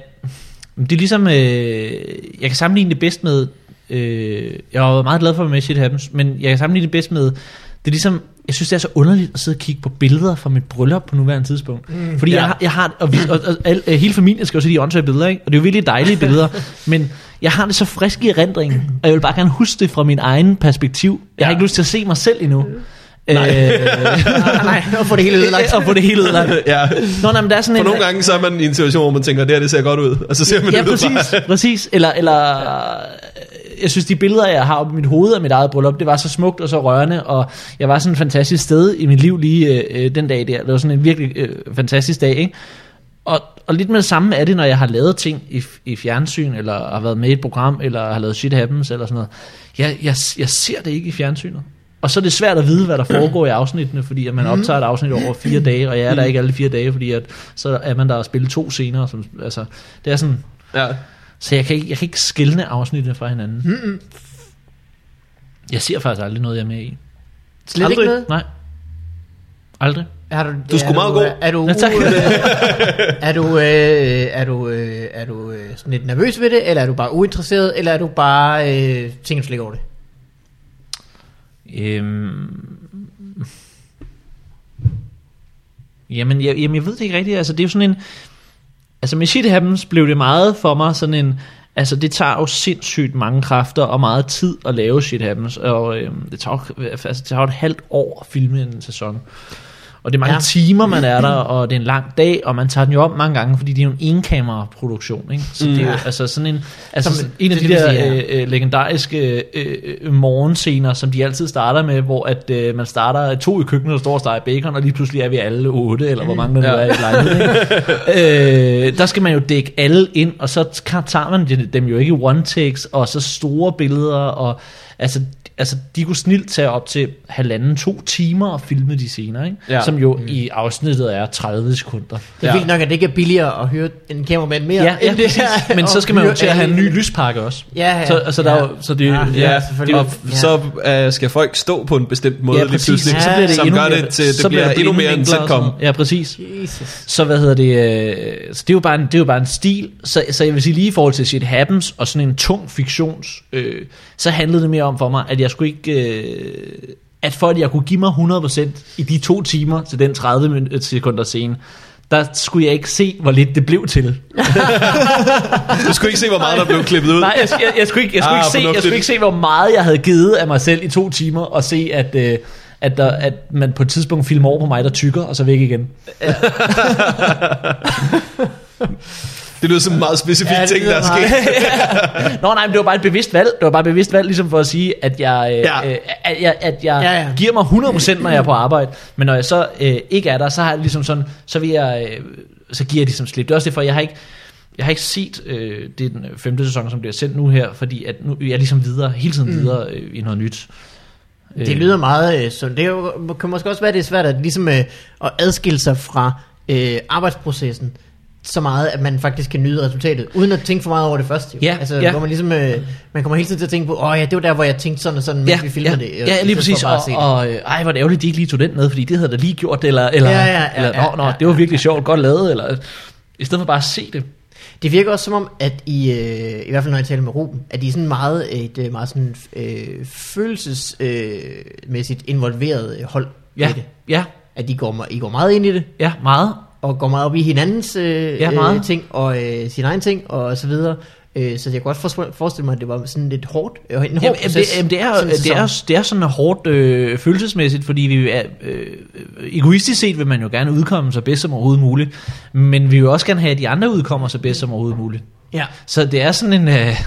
det er ligesom, øh, jeg kan sammenligne det bedst med, øh, jeg var meget glad for, at Shit Happens, men jeg kan sammenligne det bedst med, det er ligesom, jeg synes det er så underligt at sidde og kigge på billeder fra mit bryllup på nuværende tidspunkt. Mm, fordi ja. jeg, har- jeg har, og, vi, og, og, al, øh, hele familien skal jo se de åndssvage billeder, ikke? og det er jo virkelig dejlige billeder, men jeg har det så frisk i erindringen, og jeg vil bare gerne huske det fra min egen perspektiv. Jeg har ikke lyst til at se mig selv endnu. Nej. Øh,
Ah, nej, og få det hele ødelagt.
og få det hele ødelagt.
ja.
Nå, nej, men der er sådan
For
en...
nogle gange så er man i en situation, hvor man tænker, det her det ser godt ud, og så ser man
ja,
det ud fra-
præcis, præcis. Eller, eller, øh, jeg synes, de billeder, jeg har oppe i mit hoved af mit eget bryllup, det var så smukt og så rørende, og jeg var sådan et fantastisk sted i mit liv lige øh, øh, den dag der. Det var sådan en virkelig øh, fantastisk dag, ikke? Og, og lidt med det samme er det, når jeg har lavet ting i, i fjernsyn, eller har været med i et program, eller har lavet shit happens, eller sådan noget. Jeg, jeg, jeg ser det ikke i fjernsynet. Og så er det svært at vide, hvad der foregår i afsnittene, fordi at man optager et afsnit over fire dage, og jeg er der ikke alle fire dage, fordi at, så er man der og spille to scener. Som, altså, det er sådan,
Ja.
så jeg kan ikke, jeg kan ikke skille afsnittene fra hinanden. Mm-mm. Jeg ser faktisk aldrig noget, jeg er med i.
Slet
Aldrig.
ikke noget?
Nej. Aldrig.
Er du,
Du er sgu
er
meget
du,
god.
Er du,
Ja, tak.
er du, øh, er du, øh, er du øh, sådan lidt nervøs ved det, eller er du bare uinteresseret, eller er du bare øh, tænker du slet ikke over det?
Øhm... Jamen, jeg, jamen, jeg ved det ikke rigtigt. Altså, det er jo sådan en... Altså, med Shit Happens blev det meget for mig sådan en... Altså, det tager jo sindssygt mange kræfter og meget tid at lave Shit Happens. Og øhm, det, tager jo, altså, det tager jo et halvt år at filme en sæson. Og det er mange
Ja.
ja. timer, man er der, og det er en lang dag, og man tager den jo om mange gange, fordi det er jo en enkameraproduktion, ikke? Så det er jo
Ja.
altså sådan en... Altså,
Som-
Som, en af
det
de
vil
der
sige, ja.
øh, øh, legendariske øh, øh, morgenscener, som de altid starter med, hvor at øh, man starter to i køkkenet, der står og steger bacon, og lige pludselig er vi alle otte, eller hvor mange der nu
Ja.
er i lejligheden. øh, der skal man jo dække alle ind, og så t- tager man de- dem jo ikke i one takes, og så store billeder, og altså, altså de kunne snilt tage op til halvanden, to timer og filme de scener, ikke?
Ja. Mm.
Ja. som jo i afsnittet er 30 sekunder.
Det er
Ja.
ja. vildt nok, at det ikke er billigere at hyre en kameramand mere,
Ja, ja,
end det
præcis.
er
Men så
at
skal man jo
hyre
til at have en
alle.
ny lyspakke også.
Ja, ja.
Så, altså, der
ja.
er jo, så det er jo,
Ja,
Ja,
selvfølgelig.
og
Ja.
så øh, skal folk stå på en bestemt måde lige pludselig,
Ja.
som
endnu
gør
mere-
det til, det
så
bliver,
det
endnu mere en
enklere og sådan
sitcom.
noget. Ja, præcis.
Jesus.
Så hvad hedder det, øh, så det er jo bare en, det er jo bare en stil, så, så jeg vil sige lige i forhold til Shit Happens og sådan en tung fiktions, øh, så handlede det mere om for mig, at jeg skulle ikke, øh, at for at jeg kunne give mig 100% i de to timer til den 30 min- øh, sekunder scene, der skulle jeg ikke se, hvor lidt det blev til.
Du skulle ikke se, hvor meget der blev klippet ud.
Nej, jeg, jeg, jeg, skulle ikke, jeg, skulle
Ah,
ikke se, jeg
fornuftigt.
skulle ikke se, hvor meget jeg havde givet af mig selv i to timer, og se, at, øh, at, der, at man på et tidspunkt filmer over på mig, der tykker, og så væk igen.
Det lyder som en meget specifik
Ja, det
ting, der er
lyder
sket.
Nå nej, men det var bare et bevidst valg. Det var bare et bevidst valg, ligesom for at sige, at jeg, øh,
Ja.
øh, at jeg, at jeg
Ja,
ja, ja.
ja.
giver mig 100% når jeg er på arbejde. Men når jeg så øh, ikke er der, så har jeg ligesom sådan, så vil jeg, øh, så giver jeg ligesom slip. Det er også derfor, jeg har ikke, jeg har ikke set øh, det er den øh, femte sæson, som bliver sendt nu her, fordi at nu er jeg ligesom videre, hele tiden
Mm.
videre øh, i noget nyt.
Det lyder meget øh, sundt. Det er jo, kan måske også være, det er svært at, ligesom, øh, at adskille sig fra øh, arbejdsprocessen så meget, at man faktisk kan nyde resultatet, uden at tænke for meget over det først. Jo.
Ja,
altså,
ja.
hvor man ligesom, øh, man kommer hele tiden til at tænke på, åh oh, ja, det var der, hvor jeg tænkte sådan og sådan, mens vi filmede
ja,
det.
Ja, lige præcis. Og,
og,
og øh, ej, hvor er det ærgerligt, de ikke lige tog den med, fordi det havde der lige gjort, eller, eller,
Ja, ja, ja,
eller
ja,
nå, nå,
ja,
det var virkelig sjovt, godt lavet, eller i stedet for bare at se det.
Det virker også som om, at I, øh, i hvert fald når jeg taler med Ruben, at I er sådan meget, et øh, meget sådan, øh, følelsesmæssigt involveret øh, hold
Ja,
i det.
ja,
At I går, me- I går meget ind i det,
ja, meget.
og går meget op i hinandens øh,
Ja,
ja,
meget.
ting, og øh, sin egen ting, og så videre. Øh, så jeg kan godt for- forestille mig, at det var sådan lidt hårdt. øh, En hård
Jamen, jamen, det,
proces,
jamen, det, er,
sådan en
det,
sæson.
er, det er sådan hårdt øh, følelsesmæssigt, fordi vi er, øh, egoistisk set vil man jo gerne udkomme så bedst som overhovedet muligt, men vi vil også gerne have, at de andre udkommer så bedst som overhovedet muligt.
Ja.
Så det er sådan en... Øh, øh,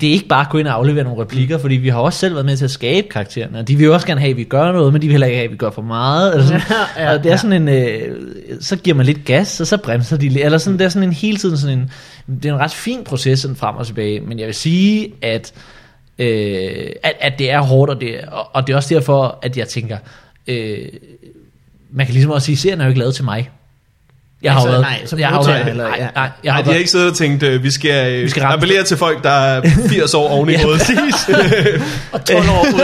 det er ikke bare at gå ind og aflevere nogle replikker, fordi vi har også selv været med til at skabe karaktererne, og de vil jo også gerne have, at vi gør noget, men de vil heller ikke have, at vi gør for meget. Eller sådan.
Ja, ja,
og det er
ja.
sådan en, øh, så giver man lidt gas, og så bremser de lidt. Eller sådan, det er sådan en hele tiden sådan en, det er en ret fin proces sådan frem og tilbage, men jeg vil sige, at, øh, at, at det er hårdt, og det, og, og det er også derfor, at jeg tænker, øh, man kan ligesom også sige, serien er jo ikke lavet til mig. Jeg har
Altså,
jo været,
nej, som
jeg har jo
modtager,
været,
eller-
nej,
ja.
nej, jeg har
Nej, de har
været-
ikke siddet og tænkt, øh, vi skal, øh,
Vi
vi
skal
skal
ramme-
appellere til folk, der er 80 år oven i hovedet.
Og 12 år ud.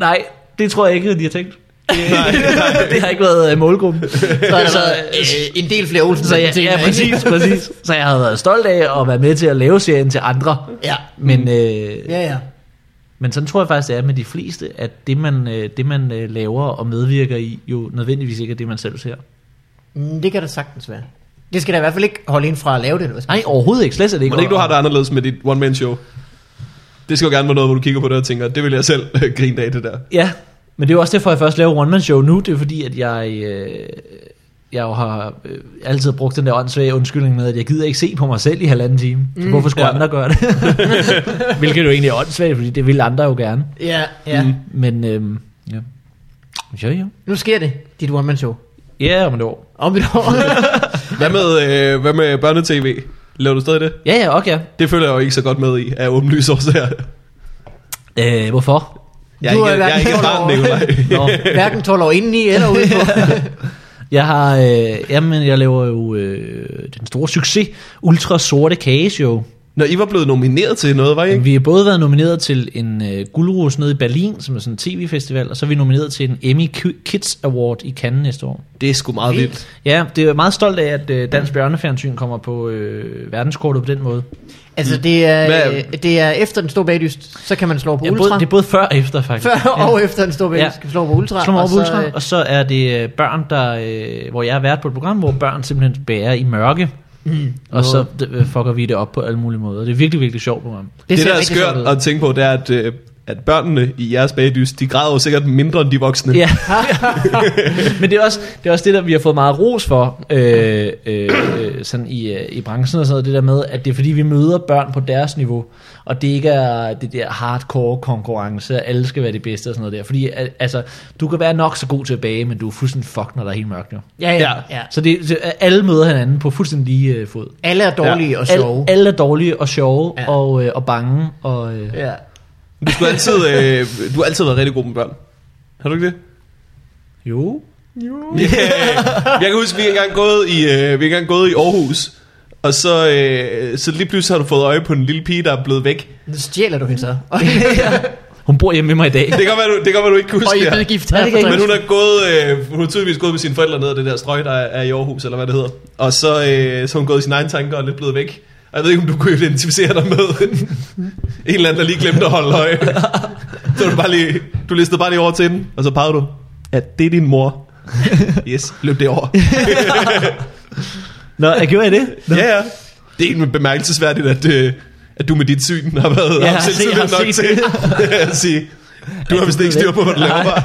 Nej, det tror jeg ikke, de har tænkt. det har ikke været øh, målgruppen.
Så er der
Så-
været, øh, en del flere Olsen.
Så jeg, ja, præcis, præcis. Så jeg har været stolt af at være med til at lave serien til andre.
Ja.
Men, øh,
Ja, ja.
men sådan tror jeg faktisk, det er med de fleste, at det man, øh, det, man øh, laver og medvirker i, jo nødvendigvis ikke er det, man selv ser.
Mm, Det kan da sagtens være. Det skal da i hvert fald ikke holde en fra at lave det. Eller hvad skal man
Nej, overhovedet ikke. Slet ikke.
Må ikke du har det anderledes med dit one-man-show? Det skal jo gerne være noget, hvor du kigger på det og tænker, det vil jeg selv øh, grine af, det der.
Ja, men det er jo også derfor, jeg først laver One Man Show nu. Det er fordi, at jeg... Øh, jeg jo har øh, altid brugt den der åndssvage undskyldning med, at jeg gider ikke se på mig selv i halvanden time. Så hvorfor skulle
Ja.
andre gøre det? Mm. Hvilket jo egentlig er åndssvagt, fordi det vil andre jo gerne.
sige? Ja, ja.
Mm.
Men øhm, ja. Jo, jo.
Nu sker det, dit one-man-show.
Ja, om et år.
Om et år.
Hvad med, øh, hvad med børnetv? Laver du stadig det?
Ja, ja, okay.
Det føler jeg jo ikke så godt med i, af åbenlyse årsager.
Øh, hvorfor?
Jeg er
Du er
ikke, jeg er
hverken
ikke et barn,
herover.
Nikolaj.
Nå.
Hverken 12 år indeni eller udenpå.
Jeg har, øh, jamen, jeg laver jo øh, den store succes, Ultra Sorte Kageshow.
Når I var blevet nomineret til noget, var I ikke?
Vi har både været nomineret til en øh, guldrus nede i Berlin, som er sådan en tv-festival, og så er vi nomineret til en Emmy Ki- Kids Award i Cannes næste år.
Det er sgu meget
Vildt.
vildt.
Ja, det er jeg meget stolt af, at øh, Dansk Bjørnefjernsyn kommer på øh, verdenskortet på den måde.
Altså, det er,
Hvad-
øh, det er efter den store bagdyst, så kan man slå på
Ja,
ultra.
både, det er både før og efter, faktisk.
Før
ja.
og efter den store bagdyst,
Ja.
skal man slå på ultra.
Slå mig
og
over på
så,
Ultra,
øh,
og så er det øh, børn, der, øh, hvor jeg er vært på et program, hvor børn simpelthen bærer i mørke. Mm. Og så øh, fucker vi det op på alle mulige måder. Det er virkelig, virkelig sjovt program.
Det, det
ser
der er
rigtig sjovt ud.
skørt at tænke på, det er, at, øh, at børnene i jeres bagdys, de græder jo sikkert mindre end de voksne.
Ja. Men det er, også, det er også det, der vi har fået meget ros for øh, øh, øh, sådan i, øh, i branchen og sådan noget, det der med, at det er fordi, vi møder børn på deres niveau, og det ikke er det der hardcore konkurrence, at alle skal være det bedste og sådan noget der. Fordi al- altså, du kan være nok så god tilbage, men du er fuldstændig fuck, når der er helt mørkt nu.
Ja, ja, ja.
Så det, så alle møder hinanden på fuldstændig lige øh, fod.
Alle er dårlige og sjove.
Alle, alle er dårlige og sjove
Ja.
ja. og, øh, og bange. Og, øh.
Ja.
Du, skulle altid, øh, du har altid været rigtig god med børn. Har du ikke det?
Jo.
Yeah. Jeg kan huske, vi er engang gået i, øh, vi er engang gået i Aarhus, og så, øh, så lige pludselig har du fået øje på en lille pige, der er blevet væk.
Nu stjæler du hende så. Og,
Hun bor hjemme med mig i dag.
Det kan godt være, du, det kan godt være, du ikke kan
og
huske
I
det
er
her.
blevet gift.
Nej, det kan jeg ikke
Men hun er, gået, øh, hun er tydeligvis gået med sine forældre ned ad det der strøg, der er i Aarhus, eller hvad det hedder. Og så, øh, så er hun gået i sine egne tanker og er lidt blevet væk. Og jeg ved ikke, om du kunne identificere dig med en eller anden, der lige glemte at holde øje. Så du, bare lige, du listede bare lige over til den, og så pegede du. Ja, det er din mor. Yes, løb det over.
Nå, jeg gjorde jeg det? Nå.
Ja, ja. Det er egentlig bemærkelsesværdigt, at, øh, at du med dit syn har været
Ja,
ja,
jeg har set-
selvtillid
jeg har
nok
set
til at sige, du har vist ikke styr på, hvad du laver. bare."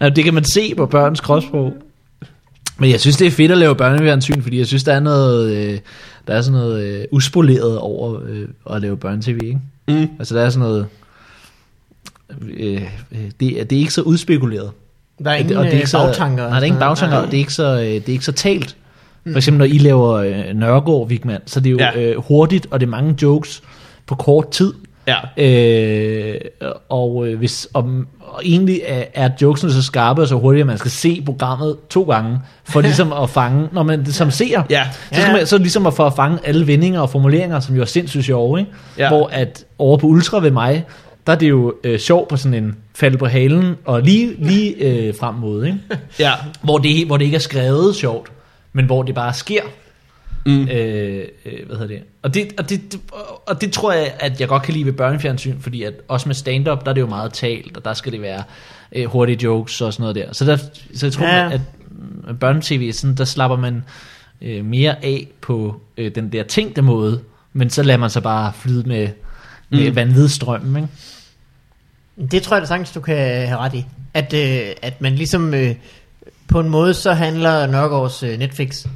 Nå, det kan man se på børns kropssprog. Men jeg synes, det er fedt at lave børnefjernsyn, fordi jeg synes, der er noget, øh, der er sådan noget øh, uspoleret over øh, at lave børnetv, ikke?
Mm.
Altså, der er sådan noget... Øh, øh, det, er- det er ikke så udspekuleret.
Der er ingen
og det er ikke
øh,
så,
bagtanker.
Nej, der er ingen bagtanker, og det er ikke så, øh, det er ikke så talt.
Mm.
For eksempel når I laver øh, Nørregård, Vigman, så det er jo ja.
Ja.
øh, hurtigt, og det er mange jokes på kort tid.
Ja.
Øh, og, øh, hvis, om, og egentlig er, er jokesene så skarpe og så hurtige, at man skal se programmet to gange, for ligesom at fange, når man det som ser.
Ja.
Så, skal
Ja.
man, så ligesom at for at fange alle vendinger og formuleringer, som jo er sindssygt sjove, ikke?
Ja.
hvor at over på Ultra ved mig, der er det jo øh, sjovt på sådan en falde på halen og lige, lige øh, frem mod, ikke?
Ja.
Hvor, det, hvor det ikke er skrevet sjovt, men hvor det bare sker. Mm. Øh, øh, hvad hedder det? Og det, og, det, det- og det tror jeg, at jeg godt kan lide ved børnefjernsyn, fordi at også med stand-up, der er det jo meget talt, og der skal det være øh, hurtige jokes og sådan noget der. Så, der, så jeg tror,
Ja.
ja. at mm, børnetv, sådan, der slapper man øh, mere af på øh, den der tænkte måde, men så lader man sig bare flyde med, med mm. vanvidsstrømmen, ikke?
Det tror jeg da sagtens, du kan have ret i. At, øh, at man ligesom... Øh, på en måde, så handler Nørgaards øh, Netflix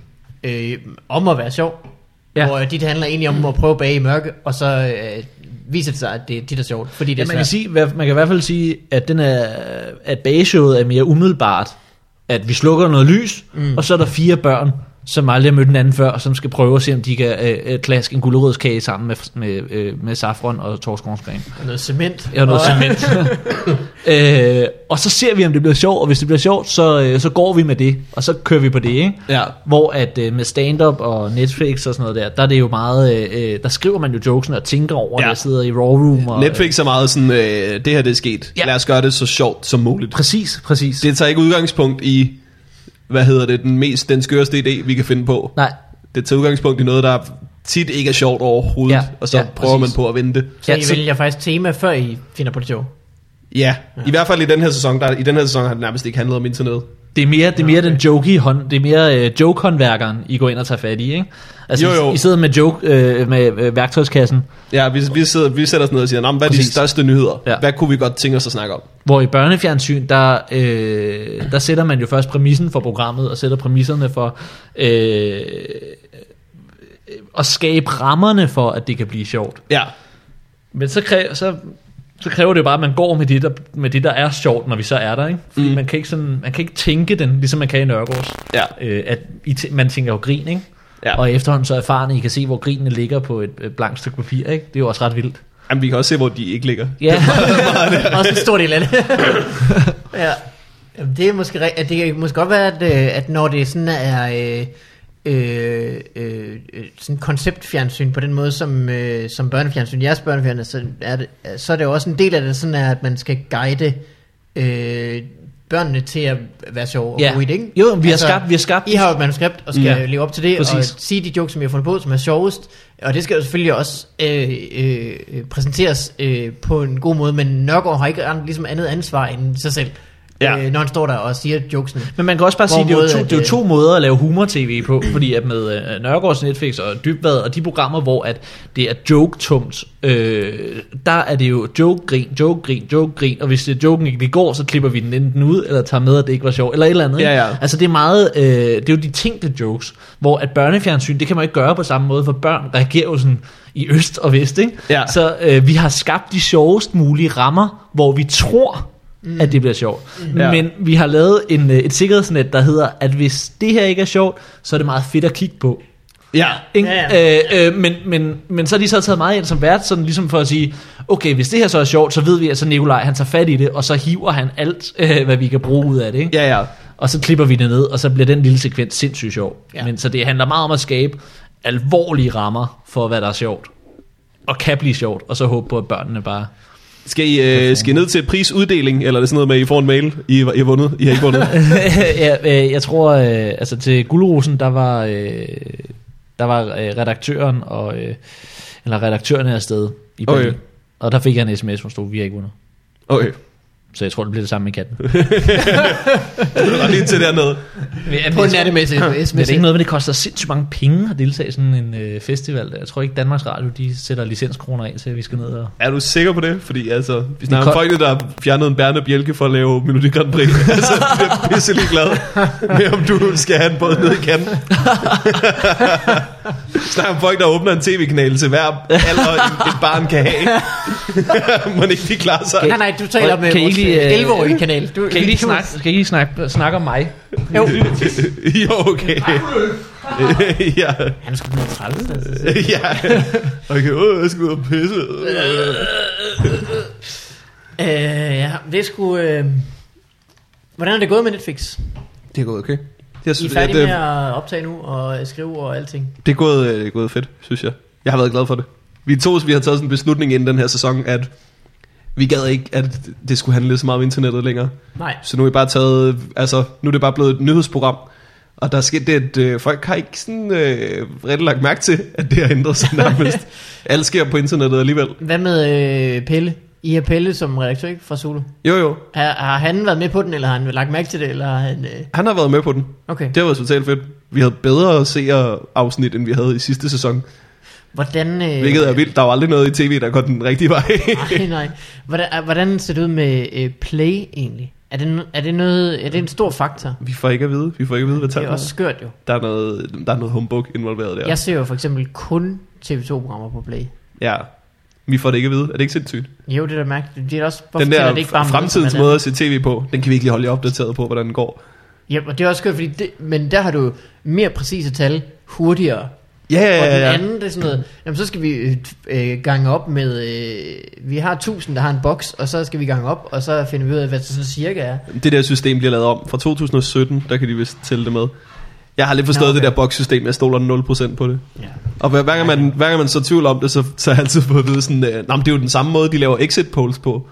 øh, om at være sjov.
Ja.
Ja. Hvor øh, dit handler egentlig om at prøve at bage i mørke, og så øh, viser det sig, at det er dit, der er sjovt. Fordi det
Ja,
er
man, kan
svært.
sige, hvad- man kan i hvert fald sige, at, den er, at bageshowet er mere umiddelbart. At vi slukker noget lys, mm. og så er der fire børn, som aldrig har mødt hinanden før, og som skal prøve at se, om de kan øh, øh, klaske en gulerodskage sammen med, med, øh, med safron og torskornsgrene.
Og Noget cement.
Ja, noget
og,
cement. øh, og så ser vi, om det bliver sjovt, og hvis det bliver sjovt, så, øh, så går vi med det, og så kører vi på det, ikke?
Ja.
Hvor at øh, med stand-up og Netflix og sådan noget der, der er det jo meget, øh, øh, der skriver man jo jokesen og tænker over, ja.
Ja.
der sidder i raw room. Og,
Netflix er meget sådan, øh, det her det er sket.
Ja.
Ja. Lad os gøre det så sjovt som muligt.
Præcis, præcis.
Det tager ikke udgangspunkt i, hvad hedder det, den mest, den skøreste idé, vi kan finde på.
Nej,
Det tager udgangspunkt i noget, der tit ikke er sjovt overhovedet,
Ja,
ja. og så
ja,
ja, prøver
præcis.
man på at vinde det.
så
Ja,
I
så-
vælger faktisk tema, før I finder på det sjov.
Ja, i hvert fald i den her sæson, der, i den her sæson har det nærmest ikke handlet om internet.
det er mere, det er mere okay. den jokey hånd, det er mere øh, joke-håndværkeren, I går ind og tager fat i, ikke? Altså,
Jo, jo.
I, I sidder med joke, øh, med øh, værktøjskassen,
Ja, vi, vi, sidder, vi sætter os ned og siger, "Nå, men hvad er
Præcis.
de største nyheder?
Ja.
Ja. Hvad kunne vi godt tænke os at snakke om?
hvor i børnefjernsyn, der, øh, der sætter man jo først præmissen for programmet, og sætter præmisserne for øh, øh, at skabe rammerne for, at det kan blive sjovt.
Ja,
Men så, kræ, så, så kræver det jo bare, at man går med det, der, med det, der er sjovt, når vi så er der, ikke? Fordi mm. man, kan ikke sådan, man kan ikke tænke den, ligesom man kan i Nørgaards.
ja,
øh, at I tæ- man tænker jo grin, ikke? Ja.
ja.
Og efterhånden så erfarne, I kan se, hvor grinene ligger på et øh, blankt stykke papir, ikke? Det er jo også ret vildt.
Jamen, vi kan også se, hvor de ikke ligger.
Ja,
Også en stor del af det. ja. Jamen, det, er måske, ri- at det kan måske godt være, at, øh, at når det sådan er øh, øh, øh, øh, sådan konceptfjernsyn på den måde, som, øh, som børnefjernsyn, jeres børnefjernsyn, så er, det, så er det jo også en del af det, sådan er, at man skal guide øh, børnene til at være sjove og
Ja.
gode i det, ikke? Altså-
Jo, vi har skabt- vi har skabt-
I har jo et manuskript, og skal
Ja.
ja. leve op til det,
Præcis.
Præcis. og sige de jokes, som jeg har fundet på, som er sjovest. Og det skal jo selvfølgelig også øh, øh, øh, præsenteres øh, på en god måde, men Nørgaard har ikke an, ligesom andet ansvar end sig selv,
Ja.
ja. øh, når han står der og siger jokesene.
Mm. men man kan også bare sige, det er, jo
Hvorimod
to,
at,
det er jo
øh,
to måder at lave humor-tv på, fordi at med øh, Nørgaards Netflix og Dybvad og de programmer, hvor at det er joke-tungt, øh, der er det jo joke-grin, joke-grin, joke-grin, og hvis det joken ikke lige går, så klipper vi den enten ud, eller tager med, at det ikke var sjovt, eller et eller andet. ikke?
Ja, ja.
Altså det er meget, øh, det er jo de tænkte jokes, hvor at børnefjernsyn, det kan man ikke gøre på samme måde, for børn reagerer jo sådan i øst og vest, ikke?
Ja.
Så øh, vi har skabt de sjovest mulige rammer, hvor vi tror, mm. at det bliver sjovt. Mm.
Ja.
Men vi har lavet en, øh, et sikkerhedsnet, der hedder, at hvis det her ikke er sjovt, så er det meget fedt at kigge på.
Ja,
Ikke?
Ja,
Øh, øh, men, men, men så har de så taget meget ind som vært, sådan ligesom for at sige, okay, hvis det her så er sjovt, så ved vi, at så Nikolaj han tager fat i det, og så hiver han alt, øh, hvad vi kan bruge ud af det. Ikke?
ja, ja.
Og så klipper vi det ned, og så bliver den lille sekvens sindssygt sjov. Ja.
Ja.
Men så det handler meget om at skabe alvorlige rammer for, hvad der er sjovt. Og kan blive sjovt, og så håbe på, at børnene bare...
Skal I, øh, skal I ned til prisuddeling, eller er det sådan noget med, at I får en mail? I, I har vundet? I har ikke vundet?
ja, øh, jeg tror, øh, altså til Guldrosen, der var, øh, der var øh, redaktøren og... Øh, eller redaktøren er afsted i
Okay.
Berlin. Okay. Og der fik jeg en sms, hvor stod, vi har ikke vundet.
Okay,
Så jeg tror, det bliver det samme med katten. Men
det er lige til dernede.
jeg-
På
jeg
en
tror-
nattemæssig
Men det er
sms.
ikke noget, men det koster sindssygt mange penge at deltage i sådan en øh, festival. der. Jeg tror ikke, Danmarks Radio de sætter licenskroner af til, at vi skal ned og...
Er du sikker på det? Fordi altså, vi snakker om
kon-
folkene, der har fjernet en bærende bjælke for at lave Melodi Grand Prix. altså, jeg er pisselig glad med, om du skal have en båd ned i kanten. Snak om folk, der åbner en tv-kanal til hver alder, en- et barn kan have. Må ikke de klare sig?
Nej, nej, du taler
Kan
med
I
vores
ikke lige, øh,
11-årige kanal. Du,
Kan I lige snakke, kan I lige snakke, snakke om mig?
Jo,
jo, okay. ja.
han er sgu blevet træls. Altså.
ja. Okay, åh, jeg skal ud og pisse.
Øh, ja, det er sgu... Øh... Hvordan er det gået med Netflix?
Det er gået okay. Jeg
I er
synes, at, øh,
færdige
øh,
det,
med at optage nu og skrive og alting?
det, er gået, øh, det er gået fedt, synes jeg. Jeg har været glad for det. Vi to, vi har taget sådan en beslutning inden den her sæson, at vi gad ikke, at det skulle handle så meget om internettet længere.
Nej.
Så nu er, vi bare taget, altså, nu er det bare blevet et nyhedsprogram. Og der er sket det, at øh, folk har ikke sådan, øh, rigtig lagt mærke til, at det har ændret sig nærmest. Alt sker på internettet alligevel.
Hvad med øh, Pelle I har Pelle som redaktør, ikke? Fra Zulu.
Jo, jo.
Har, har han været med på den, eller har han lagt mærke til det, eller har han... Øh...
Han har været med på den.
Okay.
Det har været totalt fedt. Vi havde bedre seer-afsnit, end vi havde i sidste sæson.
Hvordan... Øh...
Hvilket er vildt. Der var aldrig noget i tv, der går den rigtige vej.
Nej, nej. Hvordan, øh, hvordan ser det ud med øh, play egentlig? Er det, no- er det, noget, er det en stor faktor?
vi får ikke at vide. Vi får ikke at vide, hvad
Det er
tallene er.
også skørt jo.
Der er noget, der er noget humbug involveret der.
Jeg ser jo for eksempel kun TV2-programmer på play.
Ja. Vi får det ikke at vide. Er det ikke sindssygt?
Jo, det er da mærkeligt. Det er også, hvorfor
den
tæller
der
det ikke bare om
fremtidens
noget, som er
måde at se tv på, den kan vi ikke lige holde jer opdateret på, hvordan den går.
der? Ja, og det er også skørt, fordi det, men der har du jo mere præcise tal hurtigere.
Ja,
Og
ja,
den
ja, ja.
anden, det er sådan noget, jamen så skal vi øh, t- øh, gange op med, øh, vi har 1000, der har en boks, og så skal vi gange op, og så finder vi ud af, hvad det sådan cirka er.
Det der system bliver lavet om. Fra 2017, der kan de vist tælle det med. Jeg har lidt forstået
Nå,
Nå,
okay.
det der bokssystem. Jeg stoler 0% på det.
Ja.
Og hver, hver, gang man, hver gang man så tvivl om det, så, så har jeg altid fået at vide sådan, øh, "Nå, men det er jo den samme måde, de laver exit polls på.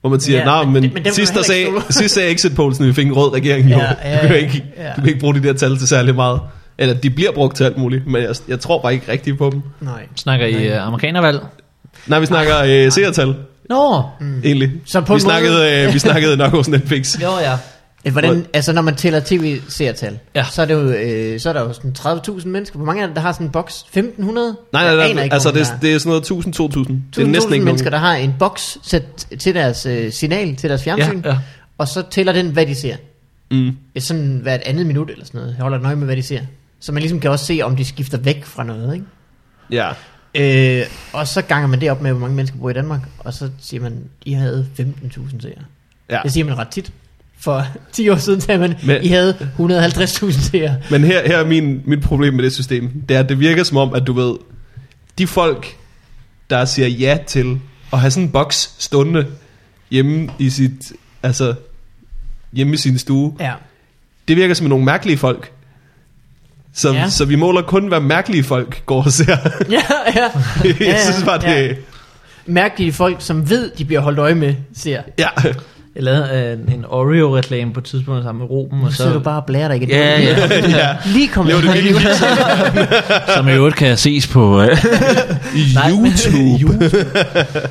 Hvor man siger,
Ja,
ja, nej,
men
men,
det- men
men
dem
sidst,
kan
der
man
sagde,
heller ikke
sidst sagde exit pollsen, at vi fik en rød regering i
Ja,
år.
ja,
du, kan ikke,
ja.
du kan ikke bruge de der tal til særlig meget. Eller de bliver brugt til alt muligt, men jeg, jeg tror bare ikke rigtigt på dem.
Nej.
Snakker I øh, amerikanervalg?
Nej, vi snakker øh, seertal,
Nå,
Mm.
egentlig.
Så på
vi,
en måde-
snakkede, øh, vi snakkede nok også Netflix.
jo ja.
Eh, Hvordan, altså når man tæller tv-seertal,
Ja.
så, er det jo, øh, så er der jo sådan 30.000 mennesker. Hvor mange er det, der har sådan en boks? 1.500?
Nej,
Jeg
nej,
aner
nej.
ikke,
Altså,
hvor
det,
mange
det er sådan noget 1.000-2.000. Det
der
er
er
næsten
1.000
ikke
mennesker,
nogen.
der har en boks sat til deres øh, signal, til deres fjernsyn,
Ja, ja.
og så tæller den, hvad de ser.
Mm.
Ja, sådan hvert andet minut eller sådan noget. Jeg holder nøje med, hvad de ser. Så man ligesom kan også se, om de skifter væk fra noget, ikke?
Ja.
Øh, og så ganger man det op med, hvor mange mennesker bor i Danmark, og så siger man, I havde 15.000 seere.
ja.
Ja. Det siger man ret tit. For 10 år siden sagde man, Men...
Men-
I havde 150.000 seere.
Men her, her er min, mit problem med det system. Det er, at det virker som om, at du ved, de folk, der siger ja til at have sådan en boks stående hjemme i sit, altså hjemme i sin stue,
Ja.
det virker som nogle mærkelige folk. Så,
Ja.
ja. så vi måler kun, hvad mærkelige folk går og ser.
Ja, ja.
Jeg synes bare,
ja.
det...
Mærkelige folk, som ved, de bliver holdt øje med, ser.
Ja.
Jeg lavede øh, en Oreo-reklame på et tidspunkt sammen med Ruben, og
Så, så er du
så,
bare og blærer dig igen.
Ja,
ja.
Lige kom
Lever det lige
som i øvrigt kan ses på øh, Nej, men-
YouTube.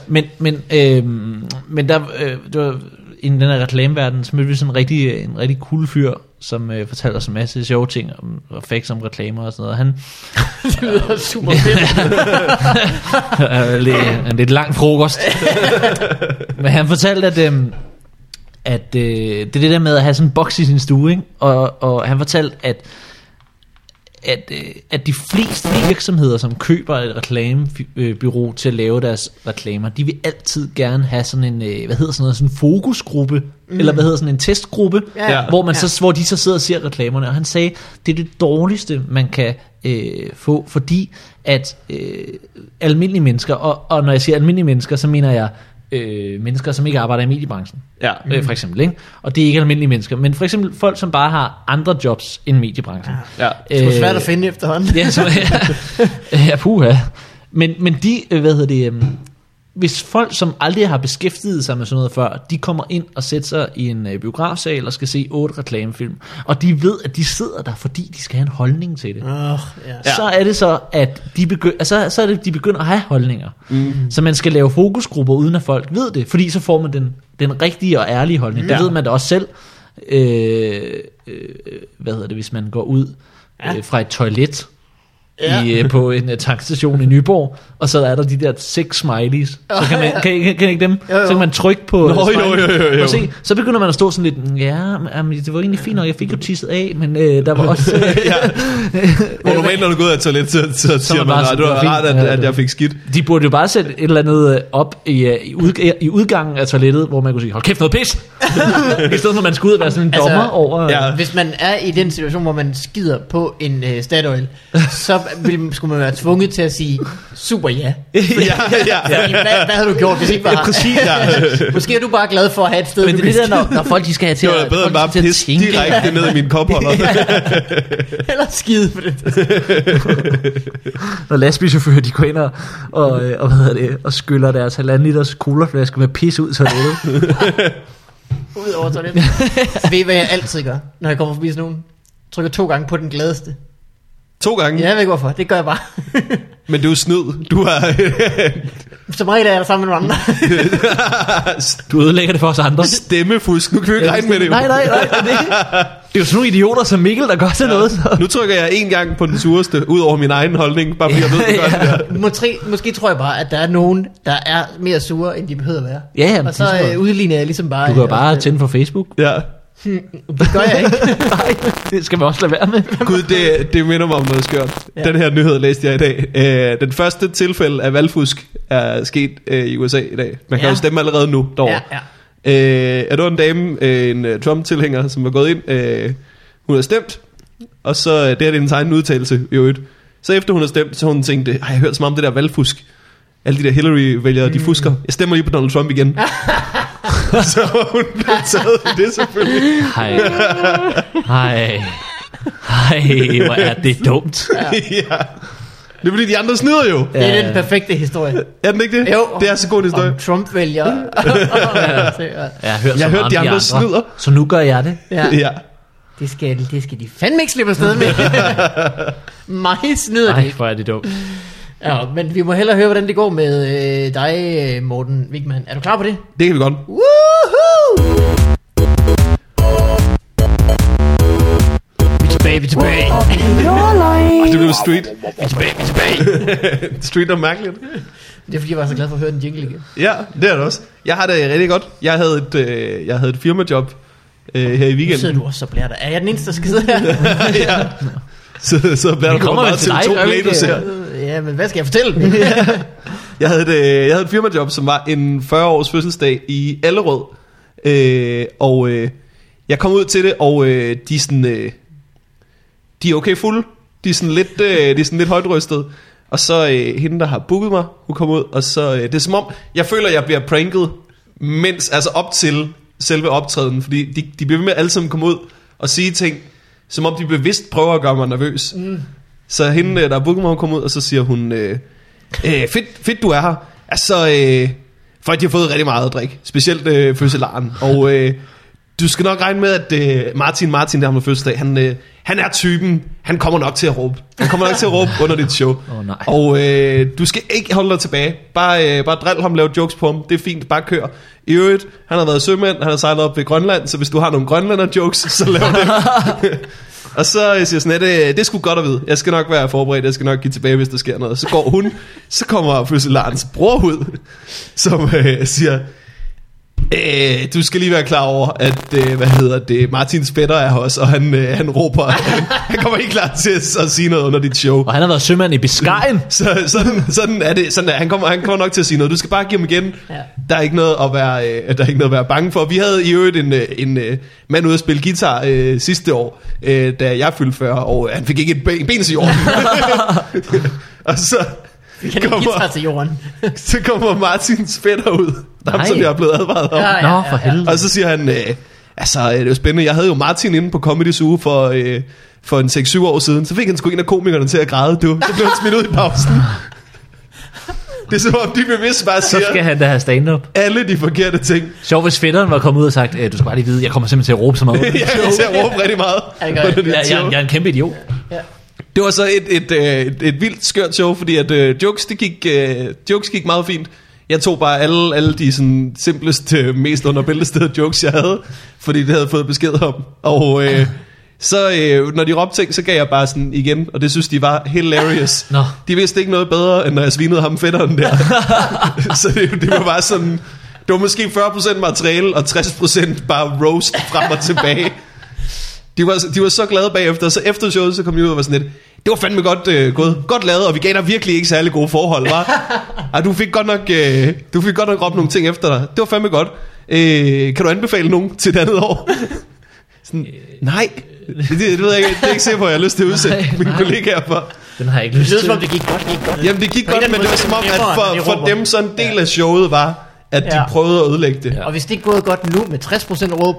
Men, men, øh, men der, øh, det var, inden den her reklameverden, så mødte vi sådan en rigtig, en rigtig cool fyr, som øh, fortalte os en masse sjove ting om, og facts om reklamer og sådan noget. Han
det lyder super fedt.
er Øh, lidt, en lidt lang frokost. men han fortalte, at, øh, at øh, det er det der med at have sådan en boks i sin stue, ikke? Og, og han fortalte, at at, øh, at de fleste virksomheder, som køber et reklamebyrå til at lave deres reklamer, de vil altid gerne have sådan en, øh, hvad hedder sådan noget, sådan en fokusgruppe, mm. eller hvad hedder sådan en testgruppe,
Ja,
Ja.
hvor, man
ja.
så, hvor de så sidder og ser reklamerne. Og han sagde, det er det dårligste, man kan øh, få, fordi at øh, almindelige mennesker, og, og når jeg siger almindelige mennesker, så mener jeg øh, mennesker, som ikke arbejder i mediebranchen
Ja.
øh, for eksempel. Ikke? Og det er ikke almindelige mennesker, men for eksempel folk, som bare har andre jobs end mediebranchen.
Ja.
Det er sgu svært at finde efterhånden.
Øh. Ja, så, ja, ja puha. Men, men de, øh, hvad hedder det, øhm, hvis folk, som aldrig har beskæftiget sig med sådan noget før, de kommer ind og sætter sig i en øh, biografsal og skal se otte reklamefilm, og de ved, at de sidder der, fordi de skal have en holdning til det.
Åh, ja.
Ja. Så er det så, at de begynder, altså, så er det, de begynder at have holdninger. Mm. Så man skal lave fokusgrupper, uden at folk ved det. Fordi så får man den, den rigtige og ærlige holdning. Mm. Det
Ja.
ved man da også selv. Øh, øh, hvad hedder det, hvis man går ud ja. øh, fra et toilet ja. i, øh, på en øh, tankstation i Nyborg, og så er der de der seks smileys. Så kan man, kan, I- kan, kan I ikke dem?
Jo, jo.
Så kan man trykke på... øh,
jo,
smiley.
jo, jo, jo.
Og se, så begynder man at stå sådan lidt, "Mm, ja, men, jamen, det var egentlig fint nok, jeg fik jo tisset af, men øh, der var også... Øh,
ja. Hvor normalt, når du går ud af toilet, så, så siger
man
man,
bare
nej,
sådan,
det var
fint,
rart, at,
ja, det
at
var-
jeg fik skidt.
De burde jo bare sætte et eller andet øh, op i, øh, i, ud, i udgangen af toilettet, hvor man kunne sige, hold kæft noget pis! I stedet for, at man skulle ud og være sådan en
Altså,
dommer altså, over...
ja.
Hvis man er i den situation, hvor man skider på en øh, Statoil, så vil, skulle man være tvunget til at sige super ja.
ja, ja.
Fordi Hvad, hvad havde du gjort, hvis ikke var
Præcis, ja.
Måske er du bare glad for at have et sted,
Men
du
det er det
kan
der, når, når folk de skal have til
Det var da bedre
folk
end bare
skal til at
pisse
tænke.
direkte ned i min kopholder.
skide- eller skide på det.
øh, Når lastbilchauffører, de går ind og, og, øh, og, hvad hedder det, og skyller deres halvanden liters colaflaske med pis ud i toilettet.
Ud over toilettet. Ved I, hvad jeg altid gør, når jeg kommer forbi sådan nogen? Trykker to gange på den gladeste.
To gange?
Ja,
Ja.
jeg ved ikke hvorfor. Det gør jeg bare.
Men du er snyd. Du har...
Som regel er jeg der sammen med nogle andre.
Du ødelægger det for os andre.
Stemmefusk. Nu kan vi ikke regne med det. jo.
Nej, nej, nej. Det er, det. det er jo sådan nogle idioter som Mikkel, der gør til noget. Så.
Nu trykker jeg en gang på den sureste, ud over min egen holdning, bare fordi jeg ved, det gør det der.
måske, måske tror jeg bare, at der er nogen, der er mere sure, end de behøver at være.
Ja, jamen,
Og så
det er
øh, udligner jeg ligesom bare...
Du kan jo
øh,
bare
også,
tænde for Facebook.
Ja.
øh, Det gør jeg ikke.
Nej, det skal man også lade være med.
Gud, det, det minder mig om noget skørt. Ja.
Ja.
Den her nyhed læste jeg i dag. Øh, den første tilfælde af valgfusk er sket øh, i USA i dag. Man kan ja.
Ja.
jo stemme allerede nu derovre.
ja, ja.
Øh, er du en dame, øh, en øh, Trump-tilhænger, som var gået ind, øh, hun har stemt, og så, øh, det her det er hendes egen udtalelse i øvrigt, så efter hun har stemt, så har hun tænkte, har jeg hørt så meget om det der valgfusk? Alle de der Hillary-vælgere, mm. de fusker. Jeg stemmer lige på Donald Trump igen. så var hun blevet taget i det selvfølgelig.
Hej. Hej. Hej, hvor er det dumt.
Ja. ja. Det er fordi, de andre snyder jo.
Det er den perfekte historie.
Er den ikke det?
Jo.
Det er så god en historie.
Om Trump vælger.
Jeg har hørt,
Jeg
så
har hørt,
meget om
de andre snyder.
Så nu gør jeg det.
ja,
Ja.
det skal, det skal de fandme ikke slippe afsted med. Mig snyder de.
Nej, hvor er det dumt.
Ja, men vi må hellere høre, hvordan det går med øh, dig, øh, Morten Wigman. Er du klar på det?
Det kan vi godt.
Woohoo! Vi er tilbage, vi er tilbage.
Your life.
Det blev street. street og mærkeligt.
Det er fordi, jeg var så glad for at høre den jingle igen.
Ja, det er det også. Jeg har det rigtig godt. Jeg havde et, øh, jeg havde et firmajob øh, her i
Nu sidder
weekenden.
du også så blært. Er jeg den eneste, der skal sidde her?
ja. Så, så bliver
Vi
der
kommer
meget
vel til dig,
TV2
gør vi
Play,
ikke?
du ser.
Ja, men hvad skal jeg fortælle? Ja.
Jeg havde, et, øh, jeg havde et firmajob, som var en 40-års fødselsdag i Allerød. Øh, og øh, jeg kom ud til det, og øh, de, er sådan, øh, de er okay fulde. De er sådan lidt, øh, de er sådan lidt højtrystede. Og så øh, hende, der har booket mig, hun kom ud, og så... Øh, det er som om, jeg føler, jeg bliver pranket, mens, altså op til selve optræden, fordi de, de bliver ved med alle sammen at komme ud og sige ting, som om de bevidst prøver at gøre mig nervøs. Mm. Så hende, øh, der har booket mig, hun kom ud, og så siger hun, øh, øh, fedt, fedt, du er her. Altså, øh, folk de har fået rigtig meget at drikke, specielt øh, fødselaren. Og øh, du skal nok regne med, at øh, Martin, Martin, der har med fødselsdag, han, øh, han er typen, han kommer nok til at råbe. Han kommer nok til at råbe under dit show.
Åh, nej.
Og øh, du skal ikke holde dig tilbage. Bare, øh, bare drill ham, lav jokes på ham. Det er fint, bare kør. I øvrigt, han har været sømand, han har sejlet op ved Grønland, så hvis du har nogle grønlander-jokes, så lav det. Og så øh, siger jeg sådan, at øh, det er sgu godt at vide. Jeg skal nok være forberedt, jeg skal nok give tilbage, hvis der sker noget. Så går hun, så kommer fødselarens bror ud, som øh, siger, øh, du skal lige være klar over, at, øh, hvad hedder det, Martins fætter er her også, og han, øh, han råber, han kommer ikke klar til at, at sige noget under dit show.
Og han har været sømand i Biscayen.
Så sådan, sådan er det. Sådan er, han, kommer, han kommer nok til at sige noget. Du skal bare give ham igen. Ja.
Ja.
Der er ikke noget at være, øh, der er ikke noget at være bange for. Vi havde i øvrigt en, øh, en øh, mand ude at spille guitar øh, sidste år, øh, da jeg fyldte 40, og øh, han fik ikke et ben, ben i orden. og så
Kan du guitar
kommer,
til jorden?
så kommer Martins fætter ud, der
Nej.
som jeg er blevet advaret om.
Ja,
Nå, for helvede.
Og så siger han, øh, altså øh, det er jo spændende, jeg havde jo Martin inde på Comedy Zoo for, øh, for en 6-7 år siden, så fik han sgu en af komikerne til at græde, du. Så blev han smidt ud i pausen. Det er som om, de bevidst bare
Så skal
siger
han da have stand-up.
alle de forkerte ting.
Sjov, hvis fætteren var kommet ud og sagt, "Øh, du skal bare lige vide, jeg kommer simpelthen til at råbe så meget.
Jeg er til at råbe rigtig meget.
Ja, det gør jeg.
under dit
Jeg,
show.
jeg, jeg er en kæmpe idiot.
Det var så et, et, øh, et, et vildt skørt show, fordi at øh, jokes, det gik, øh, jokes gik meget fint. Jeg tog bare alle, alle de sådan, simpleste, øh, mest underbæltestede jokes, jeg havde, fordi det havde jeg fået besked om. Og øh, så øh, når de råbte ting, så gav jeg bare sådan igen, og det synes de var hilarious.
Nå.
De vidste ikke noget bedre, end når jeg svinede ham fætteren der. så det, det var bare sådan... Det var måske 40% materiale, og 60% bare roast frem og tilbage. De var, de var så glade bagefter, så efter showet, så kom de ud og var sådan lidt, det var fandme godt øh, gået, godt lavet, og vi gav dig virkelig ikke særlig gode forhold, var. Ej, du fik godt nok, øh, du fik godt nok råbt nogle ting efter dig. Det var fandme godt. Øh, kan du anbefale nogen til et andet år? Sådan, nej, det, det, ved jeg ikke, det er ikke sikkert, hvor jeg har lyst til at udsætte
Nej,
mine
nej.
kollegaer for.
Den har jeg ikke
Det
lyst
lyder som om,
til.
det gik godt, det gik godt.
Jamen det gik
På en
godt,
eller
men det var
anden
som om,
måde,
at
så
for,
nemmere,
for
når de råber.
dem så en del af showet var, at de
Ja.
prøvede at ødelægge det.
Og hvis det ikke er gået godt nu med 60% råb,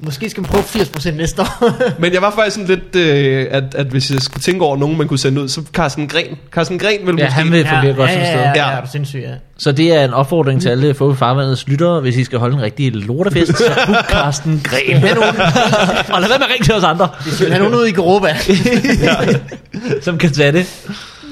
Måske skal man prøve 80% næste år.
Men jeg var faktisk sådan lidt, øh, at, at hvis jeg skulle tænke over nogen, man kunne sende ud, så Carsten Gren. Carsten Gren ville
Ja,
måske...
han vil fungere godt
ja,
som
ja,
sted.
ja, ja,
Ja.
ja, er du sindssyg, ja.
Så det er en opfordring til alle Fubi Farvandets lyttere, hvis I skal holde en rigtig lortefest, så book Carsten Gren. og lad være med at ringe til os andre,
Vi skal have nogen ud i Europa.
som kan tage det.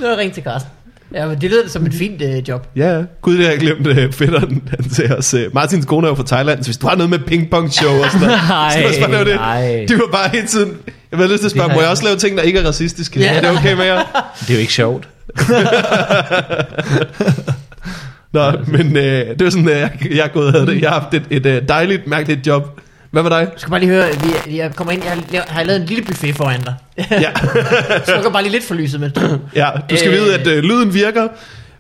Nu er ring til Carsten. Ja, men det lyder som et fint øh, job.
Ja, ja. gud, det har jeg glemt øh, fætteren han til os. Øh, Martins kone er jo fra Thailand, så hvis du har noget med pingpong-show og sådan noget, så lad os bare lave det.
nej.
Det var bare hele tiden... Jeg havde lyst til at spørge,
Det har
må jeg
jeg-
også lave ting, der ikke er racistiske?
Ja.
Ja. Er det okay med jer?
Det er jo ikke sjovt.
Nå, men øh, det var sådan, øh, jeg, jeg er gået og havde det. Jeg har haft et, et øh, dejligt, mærkeligt job. Hvad med dig?
Du skal bare lige høre, vi, jeg kommer ind, jeg har, lavet, har jeg lavet en lille buffet foran dig.
Ja,
Jeg slukker bare lige lidt for lyset med
ja du skal øh.
Øh.
vide, at øh, lyden virker,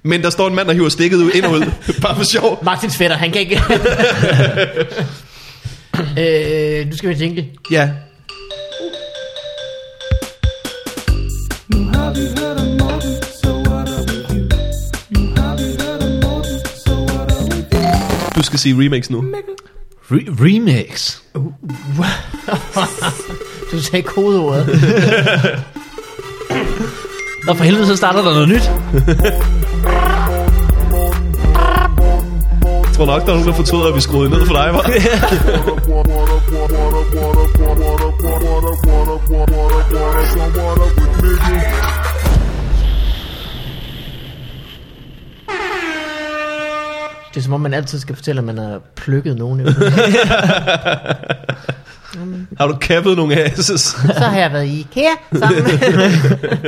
men der står en mand, der hiver stikket ud ind og ud. Bare for sjov.
Martins fætter, han kan ikke... øh, nu skal vi tænke.
Ja.
Nu har vi hørt om Morten, så what up with you? Nu har vi hørt om Morten, så what up with you?
Du skal sige remix nu.
Re- remix.
Du sagde kodeordet.
Nå for helvede, så starter der noget nyt.
Jeg tror nok, der er nogen, der fortryder, at vi skruede ned for dig, var.
Det er som om, man altid skal fortælle, at man har plukket nogen. jo.
Har du kappet nogle asses?
Så har jeg været i IKEA sammen.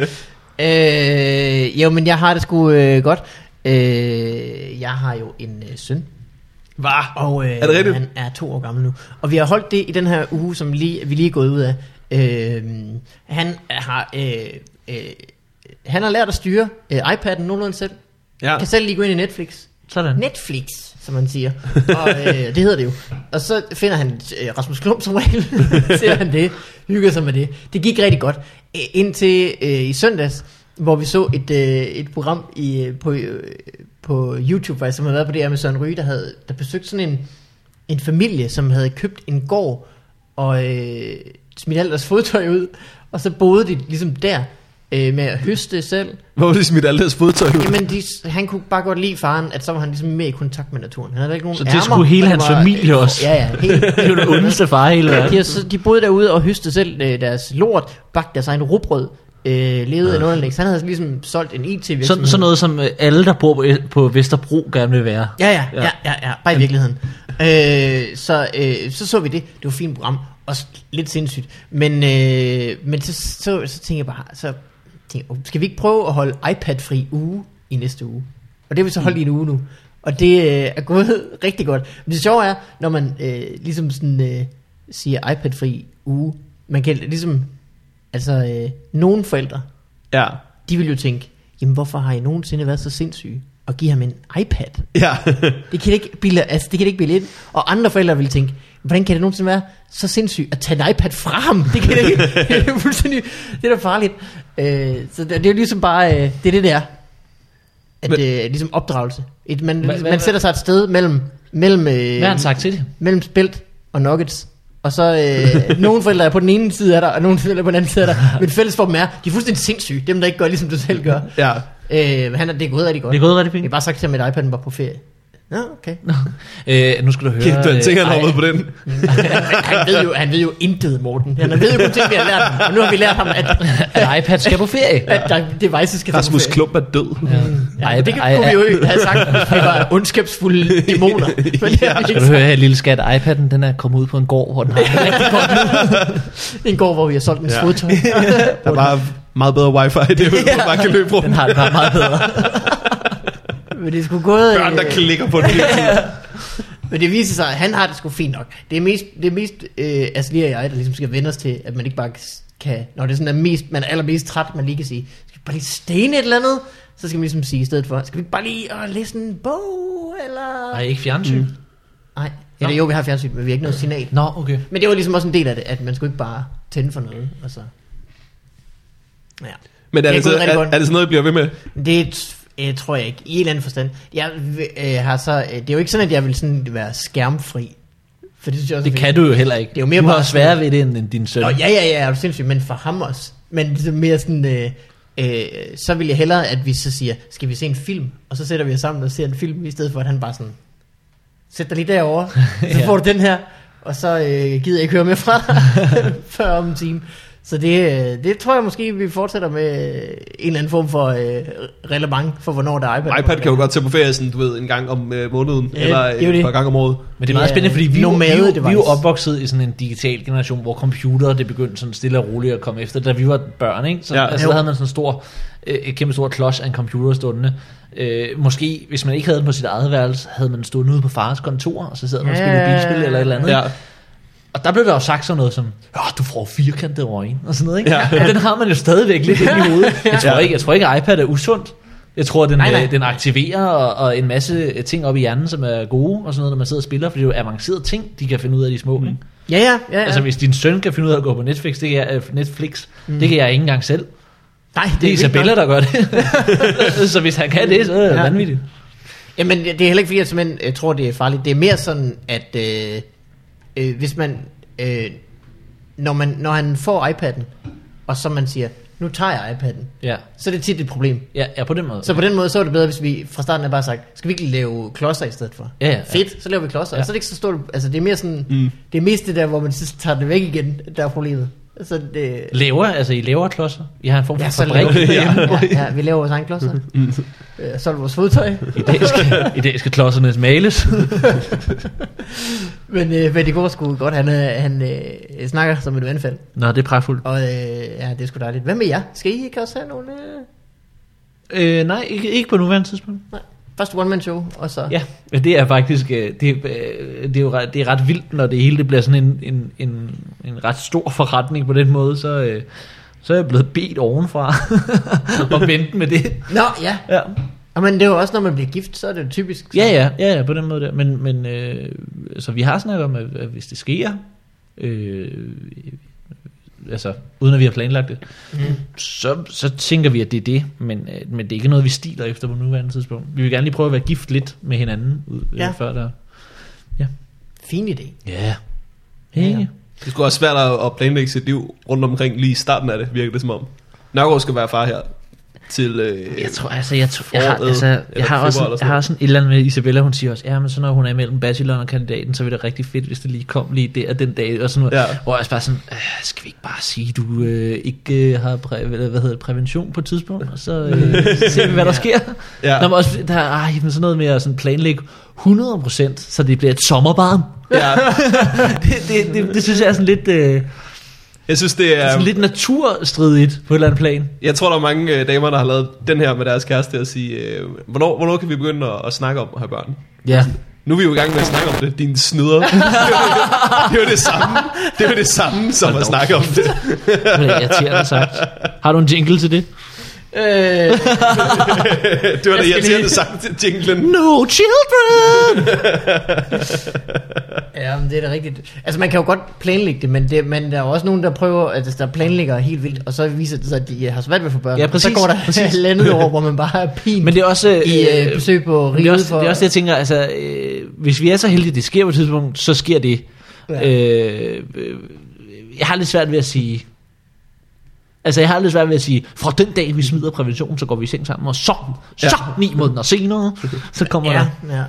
øh, jo, men jeg har det sgu øh, godt. Øh, jeg har jo en øh, søn.
Var.
Og øh,
Er det rigtigt?
han er to år gammel nu. Og vi har holdt det i den her uge, som lige, vi lige er gået ud af. Øh, han har... Øh, øh, han har lært at styre øh, iPad'en nogenlunde selv.
Ja.
Kan selv lige gå ind i Netflix.
Sådan.
Netflix, som man siger. Og øh, det hedder det jo. Og så finder han øh, Rasmus Klump som regel. ser han det. Hygger sig med det. Det gik rigtig godt. Øh, indtil øh, i søndags, hvor vi så et, øh, et program i, øh, på, øh, på YouTube, faktisk, som havde været på det her med Søren Ryge, der havde der besøgte sådan en, en familie, som havde købt en gård og øh, smidt alt deres fodtøj ud. Og så boede de ligesom der øh, med at høste selv.
Hvor var det smidt alle deres fodtøj ud?
Jamen, de, han kunne bare godt lide faren, at så var han ligesom mere i kontakt med naturen. Han havde ikke nogen
Så det
ærmer,
skulle hele
men
hans
var-
familie også?
Ja, ja. Helt,
Det er jo den ondeste far i hele
de, har
verden.
så, de boede derude og høstede selv øh, deres lort, bagte deres egen rugbrød, øh, levede af en underlægs. Han havde ligesom solgt en IT-virksomhed.
Sådan, sådan noget, som øh, alle, der bor på- på Vesterbro, gerne vil være.
Ja, ja, ja, ja, ja, bare i virkeligheden. Øh, så, øh, så så vi det. Det var et fint program. Også lidt sindssygt. Men, øh, men så, så, så tænkte jeg bare, så tænkte, jeg, skal vi ikke prøve at holde iPad-fri uge i næste uge? Og det har vi så holdt i en uge nu. Og det øh, er gået rigtig godt. Men det sjove er, når man øh, ligesom sådan, øh, siger iPad-fri uge, man kan ligesom, altså øh, nogle forældre,
Ja.
de vil jo tænke, jamen hvorfor har I nogensinde været så sindssyge og give ham en iPad?
Ja.
Det kan det ikke bilde, altså det kan det ikke bilde ind. Og andre forældre ville tænke, hvordan kan det nogensinde være så sindssygt at tage en iPad fra ham? Det kan det ikke. det er fuldstændig, det er da farligt. Øh, så det, det, er jo ligesom bare, øh, det er det, det er. At,
Men-
øh, ligesom opdragelse. Et, man,
Hva- hva-
man sætter sig et sted mellem, mellem, øh,
Hvad har han sagt til det?
mellem spelt og nuggets. Og så øh, nogle forældre er på den ene side af dig, og nogle forældre er på den anden side af dig. Men fælles for dem er, de er fuldstændig sindssyge. Dem, der ikke gør, ligesom du selv gør.
Ja.
Øh, men han er, det er gået rigtig godt.
Det er gået rigtig
Jeg har
fint.
bare sagt til ham, at iPad'en var på ferie. Nå, okay.
Øh, nu skal du høre...
Kæft, jeg tænker, han
øh,
hoppede på den.
han, han, ved jo, han ved jo intet, Morten. Han ved jo kun ting, vi har lært ham. Og nu har vi lært ham, at,
ej, at iPad skal på ferie.
at der devices skal
Rasmus
tage på ferie.
Klump er død. Ja.
Ja, det kunne vi jo ikke have sagt, hvis vi var ondskabsfulde dæmoner. Men det har vi
Skal
ikke
du høre her, lille skat, iPad'en den er kommet ud på en gård, hvor den har det rigtig godt.
sagt. En går, hvor vi har solgt en
Ja.
fodtøj.
Der var meget bedre wifi i det, hvor man bare kan løbe rundt.
Den har det bare meget bedre.
Men det skulle gået...
Børn, der
øh,
klikker på den hele tiden.
Men det viser sig, at han har det sgu fint nok. Det er mest, det er mest øh, altså lige og jeg, der ligesom skal vende os til, at man ikke bare kan... Når det er sådan, at mest, man er allermest træt, man lige kan sige, skal vi bare lige stene et eller andet? Så skal man ligesom sige i stedet for, skal vi ikke bare lige øh, læse en bog, eller...
Nej, ikke fjernsyn. Mm.
Nej. Eller jo, vi har fjernsyn, men vi har ikke noget signal.
Nå, okay.
Men det var ligesom også en del af det, at man skulle ikke bare tænde for noget. Og så. Ja.
Men er
Det er
det, så,
gået rigtig
er,
godt.
er det sådan noget, I bliver ved med?
Det t- øh, tror jeg ikke, i en eller anden forstand. Jeg øh, har så, øh, det er jo ikke sådan, at jeg vil sådan være skærmfri. For det synes jeg også er
Det
vigtigt.
kan du jo heller ikke.
Det er jo mere
du har
bare-
sværere ved det end, end din søn.
Nå, ja, ja, ja, er du sindssygt, men for ham også. Men ligesom mere sådan, øh, øh, så vil jeg hellere, at vi så siger, skal vi se en film? Og så sætter vi os sammen og ser en film, i stedet for at han bare sådan, sæt dig lige derovre, så
Ja.
får du den her, og så øh, gider jeg ikke høre mere fra dig før om en time. Så det, øh, det tror jeg måske, vi fortsætter med øh, en eller anden form for øh, relevant for, hvornår der er iPad.
iPad kan jo godt tage på ferie sådan, du ved, en gang om øh, måneden,
Ja,
eller
det er jo
øh, et
det.
par gange om året.
Men det er meget
Ja,
spændende, fordi vi,
nomade
vi, vi, vi er jo
device.
opvokset i sådan en digital generation, hvor computere det begyndte sådan stille og roligt at komme efter, da vi var børn, ikke? Så
Ja.
ja. altså,
Jo.
der havde man sådan en stor, øh, et kæmpe stor klods af en computer stående. Øh, måske, hvis man ikke havde den på sit eget værelse, havde man stået ude på fars kontor, og så sad man og spillede
Ja.
bilspil eller et eller andet.
Ja.
Ja. Og der blev der jo sagt sådan noget som, ja, du får firkantede øjne, og sådan noget, ikke?
Ja.
Ja. Og den har man jo stadigvæk lidt inde i hovedet. Jeg tror,
Ja.
ikke, jeg tror ikke, at iPad er usundt. Jeg tror, at den,
Nej,
nej,
nej.
nej. den aktiverer og, og en masse ting op i hjernen, som er gode og sådan noget, når man sidder og spiller, fordi det er jo avancerede ting, de kan finde ud af, de små. Mm. Ikke?
Ja, ja, ja. ja.
Altså, hvis din søn kan finde ud af at gå på Netflix, det kan jeg, øh, Netflix, mm. det kan jeg ikke engang selv.
Nej,
Det er
vildt nok.
Isabella, der gør det. så hvis han kan det, så er det
Ja.
ja. vanvittigt.
Jamen, det er heller ikke fordi, jeg simpelthen øh, tror, det er farligt. Det er mere sådan, at øh, øh, hvis man, øh, når man... Når han får iPad'en, og så man siger, nu tager jeg iPad'en,
Ja.
så er det tit et problem.
Ja, ja, på den måde.
Så på den måde, så er det bedre, hvis vi fra starten af bare sagt, skal vi ikke lave klodser i stedet for?
Ja, ja, ja.
Fedt, så laver vi klodser. Ja.
Ja.
Så er det ikke så stort... Altså, det er mere sådan... Mm. Det er mest det der, hvor man så tager det væk igen, der er problemet. Så det...
Laver, altså I laver klodser? I har en form for
Ja, så laver
fabrik.
vi, ja, ja, vi laver vores egen klodser. Mm. Øh, solgte vores fodtøj.
I dag skal, i dag skal klodserne males.
Men, øh, men det går sgu godt, han, øh, han øh, snakker som et vandfald.
Nå, det er pragtfuldt.
Og øh, ja, det er sgu dejligt. Hvad med jer? Skal I ikke også have nogle... Øh,
Øh, nej, ikke, ikke på nuværende tidspunkt.
nej. Først one-man-show, og så...
Ja, men det er faktisk øh, det, øh, det er jo ret, det er ret vildt, når det hele det bliver sådan en, en, en, en ret stor forretning på den måde, så, øh, så er jeg blevet bedt ovenfra og vente med det.
Nå, ja.
Ja,
Og, men det er jo også, når man bliver gift, så er det jo typisk... Så.
ja, ja, ja, ja på den måde der. Men, men øh, så vi har snakket om, at, at hvis det sker, øh, altså uden at vi har planlagt det, mm. så, så tænker vi, at det er det, men, øh, men det er ikke noget, vi stiler efter på nuværende tidspunkt. Vi vil gerne lige prøve at være gift lidt med hinanden, ud, øh,
Ja.
ja. før der...
Fin idé.
Ja. Hey.
Ja.
Ja.
Det skulle også svært at at planlægge sit liv rundt omkring lige i starten af det, virker det som om. Nørgaard skal være far her til... Øh,
Jeg tror, altså, jeg, tror, jeg har,
foråret,
altså,
eller
jeg har, også,
februar eller
en,
sådan
jeg har også en et eller andet med Isabella, hun siger også, ja, men så når hun er imellem bacheloren og kandidaten, så vil det rigtig fedt, hvis det lige kom lige der den dag, og sådan noget.
Ja.
Ja. Hvor jeg også bare sådan, "Øh, skal vi ikke bare sige, du øh, ikke øh, har præ- eller hvad hedder det, prævention på et tidspunkt, og så øh, så ser vi, hvad der sker.
Ja.
Ja. Nå, men også, der, ej, men sådan noget med at sådan planlægge 100%, så det bliver et sommerbarn.
ja,
det, det, det, det, synes jeg er sådan lidt, øh,
jeg synes, det er...
sådan lidt naturstridigt på et eller andet plan.
Jeg tror, der er mange øh, damer, der har lavet den her med deres kæreste og sige, øh, hvornår, hvornår kan vi begynde at, at snakke om at have børn?
Ja.
Nu er vi jo i gang med at snakke om det, din snyder. det, er jo det, det er jo det samme, det er jo det samme som at snakke om det.
Det er irriterende sagt. Har du en jingle til det?
Øh,
Det var det,
Jeg
jeg
skal lige-
tænkte sagt, jinglen.
No children!
ja, men det er da rigtigt. Altså, man kan jo godt planlægge det, men, det, men der er jo også nogen, der prøver, altså, der planlægger helt vildt, og så viser det sig, at de øh, har svært ved at få børn.
Ja,
Og Så
præcis,
går der
præcis.
halvandet år, hvor man bare er pin
Men det er også... Øh,
i øh, besøg på
men det, er
riget
også,
for...
det er også det, jeg tænker, altså, øh, hvis vi er så heldige, at det sker på et tidspunkt, så sker det.
Ja.
Ja. Øh, øh, jeg har lidt svært ved at sige... Altså, jeg har lidt svært ved at sige, fra den dag, vi smider prævention, så går vi i seng sammen, og så, så
Ja.
ni måneder senere, så kommer ja. der...
ja, ja.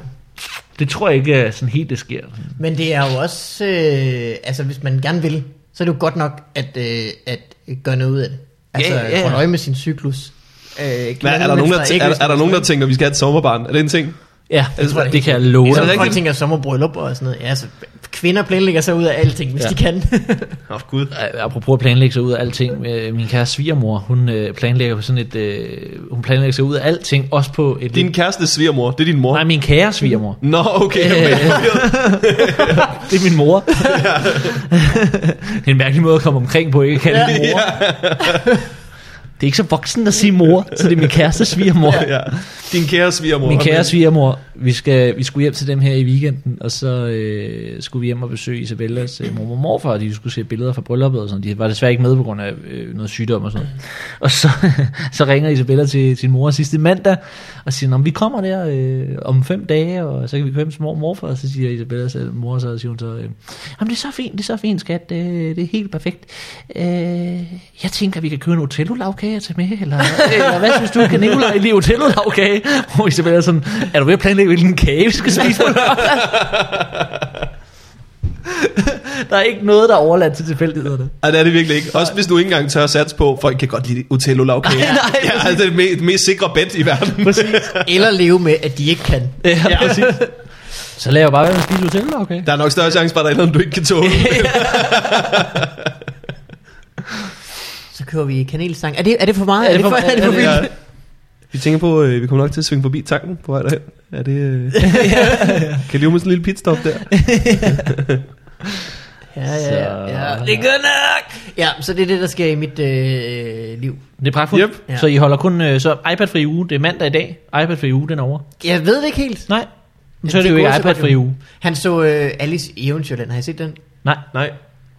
Det tror jeg ikke er sådan helt, det sker.
Men det er jo også, øh, altså hvis man gerne vil, så er det jo godt nok at, øh, at gøre noget ud af det. Altså
Ja, ja, ja.
holde øje med sin cyklus. Øh,
Hvad, er, der nogen, der, tæ- er, er der nogen, der tænker, at vi skal have et sommerbarn? Er det en ting?
Ja, det,
tror jeg
det kan jeg love.
Er
så
det
folk
rigtigt?
tænker sommerbryllup og sådan noget. Ja, altså, kvinder planlægger sig ud af alting, hvis ja.
Ja.
de kan.
Åh, oh, gud.
Øh, Apropos at planlægge sig ud af alting, øh, min kære svigermor, hun øh, planlægger på sådan et, øh, hun planlægger sig ud af alting, også på et...
Din kæreste svigermor, det er din mor.
Nej, min kære svigermor.
Nå, okay.
Øh.
men-
Det er min mor. det er en mærkelig måde at komme omkring på, ikke? Kan ja, mor. Det er ikke så voksen at sige mor, så det er min kæreste svigermor.
ja. Din kære svigermor.
Min
Okay.
kære svigermor, vi, skal, vi skulle hjem til dem her i weekenden, og så øh, skulle vi hjem og besøge Isabellas øh, mormor og morfar, og de skulle se billeder fra brylluppet og sådan. De var desværre ikke med på grund af øh, noget sygdom og sådan noget. Og så, så ringer Isabella til sin mor sidste mandag, og siger, "Nå, men vi kommer der øh, om fem dage, og så kan vi køre hjem til mor og morfar. Og så siger Isabella så, mor, så siger hun så, øh, jamen det er så fint, det er så fint, skat, øh, det er helt perfekt. Øh, jeg tænker, vi kan købe en Otello-lavkage til med, eller, eller hvad synes du, kan Nicolaj lide Otello-lavkage? Og Isabella er sådan, er du ved at planlægge, hvilken kage vi skal spise på lørdag?" Der er ikke noget, der er overladt til tilfældighederne.
Ej, det er det virkelig ikke. Også hvis du ikke engang tør satse på, folk kan godt lide Otello lavkage.
Nej, nej,
ja, altså, det er det me- det mest sikre bet i verden.
Præcis.
Eller leve med, at de ikke kan.
Ja, ja. præcis. Så lader jeg bare være med at spise Otello-lavkage.
Der er nok større chance for, at der er noget, du ikke kan tåle.
Så kører vi kanelsang. Er det, er det for meget?
Er det for-
er det for
er
vildt?
Vi tænker på, øh, vi kommer nok til at svinge forbi tanken på vej derhen. Er det, øh, kan lige med sådan en lille pitstop der?
Ja, ja, ja.
Så-
Det er godt nok. Ja, så det er det, der sker i mit øh, liv.
Det er pragtfuldt.
Yep.
Ja. Så I holder kun øh, så iPad-fri uge. Det er mandag i dag. iPad-fri uge, den er over.
Jeg ved det ikke helt.
Nej, men så er det jo ikke
gode, så godt
iPad-fri
jo.
uge.
Han så øh, Alice i Eventyrland. Har I set den?
Nej.
Nej,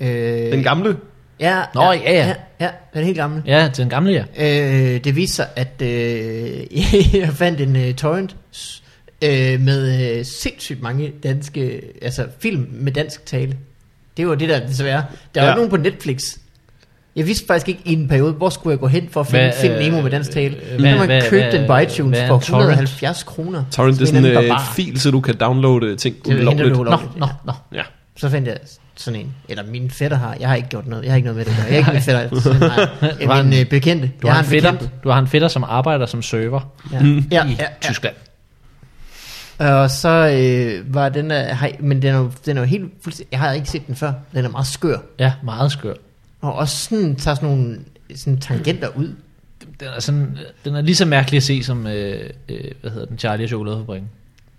Øh,
den gamle.
Ja,
Nå, ja, ja.
ja. Ja, den er helt gammel.
Ja, til den gamle, ja.
Øh, det viste sig, at øh, jeg fandt en øh, torrent s- øh, med øh, sindssygt mange danske, altså film med dansk tale. Det var det der desværre. Der var
Ja.
ja. nogen på Netflix. Jeg vidste faktisk ikke i en periode, hvor skulle jeg gå hen for at finde
Hvad,
hvad, Find
øh,
Nemo med dansk tale.
øh,
Hvad,
hvad-
hvad, man
hvad-
købte den
hvad-
på iTunes
hvad er
for
en torrent?
170 kroner.
Torrent, det er
Sådan en
sådan en
eller anden
øh,
barbar.
fil, så du kan downloade øh, ting
Det henter
ulovligt.
du
Nå,
ulovligt.
nå, nå.
Ja.
Så fandt jeg sådan en, eller min fætter har, jeg har ikke gjort noget, jeg har ikke noget med det. at gøre. Jeg er ikke min fætter, sådan, nej. Jeg er min øh, bekendte.
Du
jeg
har, en fætter,
bekendte.
du har en fætter, som arbejder som server
Ja.
ja.
Ja,
i
ja, ja.
Tyskland.
Og så øh, var den der, hej, men den er, jo- den er jo helt fuldstændig, jeg har ikke set den før, den er meget skør.
Ja, meget skør.
Og også sådan, tager sådan nogle sådan tangenter ud.
Den er, sådan, den er lige så mærkelig at se som, øh, øh, hvad hedder den, Charlie og Chokoladefabrikken.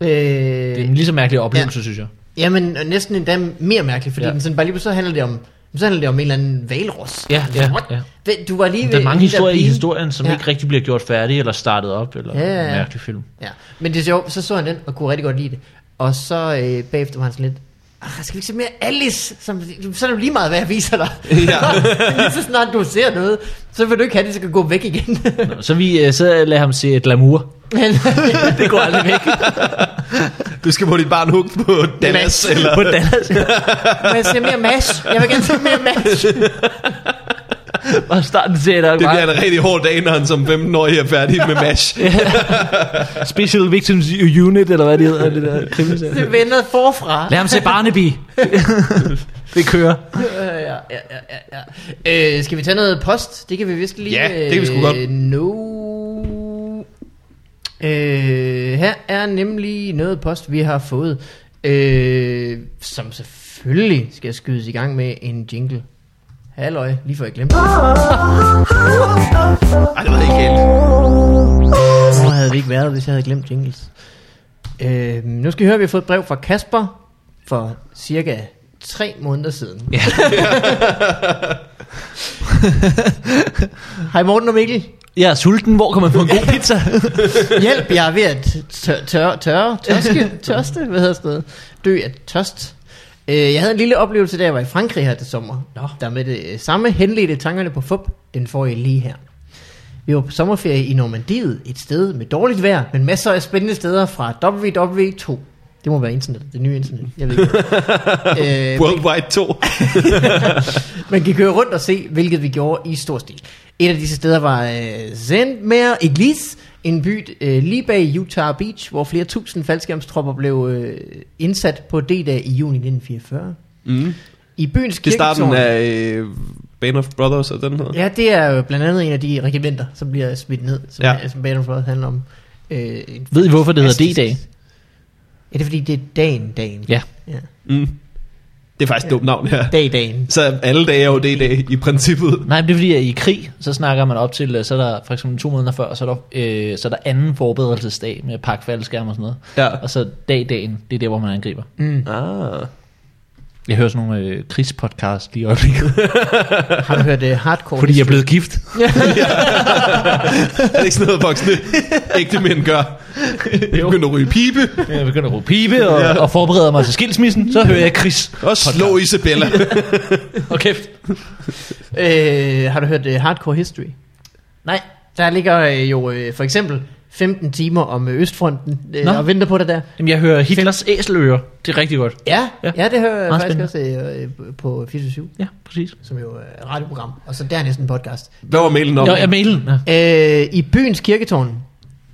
Det er en
Øh,
lige så mærkelig oplevelse, ja. synes jeg.
jamen, og næsten endda mere mærkeligt, fordi
Ja.
ja. den sådan, bare lige pludselig, så handler det om, så handler det om en eller anden valros.
Ja, ja,
What?
ja.
Hvad, Du var lige
Der er
ved-
mange
lige der
historier i
blive-
historien, som ja.
Ja.
ikke rigtig bliver gjort færdige, eller startet op, eller ja,
Ja, ja,
ja,
ja.
mærkelig film.
Ja, men det er sjovt, så så han den og kunne rigtig godt lide det. Og så øh, bagefter var han sådan lidt, "Ah, skal vi ikke se mere Alice? Som, så er det jo lige meget, hvad jeg viser dig.
Ja.
lige så snart du ser noget, så vil du ikke have det, så kan gå væk igen.
Nå, så, vi, øh, så lader ham se Glamour.
men,
Det går aldrig væk.
Du skal på dit barn hook på Dallas, eller...
På Dallas.
må jeg se mere MASH? Jeg vil gerne se mere MASH.
Og starten til, at der
Det
er
bliver en rigtig hård dag, når han som 15-årig er færdig med MASH.
bare Special Victims Unit, eller hvad det hedder, det der krimiserie.
Det vender forfra.
Lad ham se Barnaby. det kører.
Øh, ja, ja, ja, ja, ja. Øh, skal vi tage noget post? Det kan vi vist lige.
Ja, det kan vi sgu
øh,
godt.
No. Øh, her er nemlig noget post, vi har fået, øh, som selvfølgelig skal skydes i gang med en jingle. Halløj, lige for jeg glemte det.
Ej, det var ikke helt.
Hvor havde vi ikke været, hvis jeg havde glemt jingles? Øh, nu skal I høre, at vi har fået et brev fra Kasper for cirka tre måneder siden. Ja. Hej Morten og Mikkel.
Jeg er sulten, hvor kan man få en god pizza?
Hjælp, jeg er ved at tør, tør, tør, tørske, tørste, hvad hedder sådan noget, dø af tørst. Øh, Jeg havde en lille oplevelse, da jeg var i Frankrig her til sommer.
Nå.
Der med det øh, samme henledte tankerne på FUP, den får I lige her. Vi var på sommerferie i Normandiet, et sted med dårligt vejr, men masser af spændende steder fra WW2. Det må være internet, det nye internet, jeg ved ikke. Øh,
Worldwide Mm. 2.
man kan køre rundt og se, hvilket vi gjorde i stor stil. Et af disse steder var øh, Zendmere Iglis, en by øh, lige bag Utah Beach, hvor flere tusind faldskærmstropper blev øh, indsat på D-dag i juni 1944.
Mm.
I byens
Det er starten
kirketårn-
af øh, Band of Brothers og den hedder.
Ja, det er jo blandt andet en af de regimenter, som bliver smidt ned, som,
Ja.
ja. som Battle Front handler om. Øh, en
Ved I, hvorfor det hedder
fantastisk-
D-dag?
Ja, det er fordi, det er dagen, dagen.
Ja.
ja.
Mm. Det er faktisk et dumt navn her.
Dag, dagen.
Så alle dage er jo det i dag, i princippet.
Nej, men det er fordi, at i krig, så snakker man op til, øh, så er der for eksempel to måneder før, så er der, øh, så er der anden forberedelsesdag med pakke faldskærm og sådan noget.
Ja.
Mm.
Og så dag dagen, det er der, hvor man angriber.
Ah.
Jeg hører sådan nogle øh, krigspodcast lige i øjeblikket,
Har du hørt uh, hardcore?
fordi jeg er blevet gift.
er det ikke sådan noget, voksne ægte mænd gør? Jeg begynder at ryge pibe,
Jeg begynder at råbe pibe og, ja. og forbereder mig til skilsmissen, så hører jeg krigs.
og slå Isabella.
Og kæft.
Øh, har du hørt uh, Hardcore History? Nej, der ligger øh, jo øh, for eksempel 15 timer om øh, Østfronten øh,
Nå.
og venter på det der.
Jamen, jeg hører Hitlers æselører. Det er rigtig godt.
Ja,
Ja.
ja, ja det hører jeg
Meget
faktisk også øh, på 24
Ja, præcis.
som jo er et radioprogram, og så dernæst en podcast.
Hvad var mailen om?
Nå, jeg mailen. Ja.
Øh, I byens kirketårn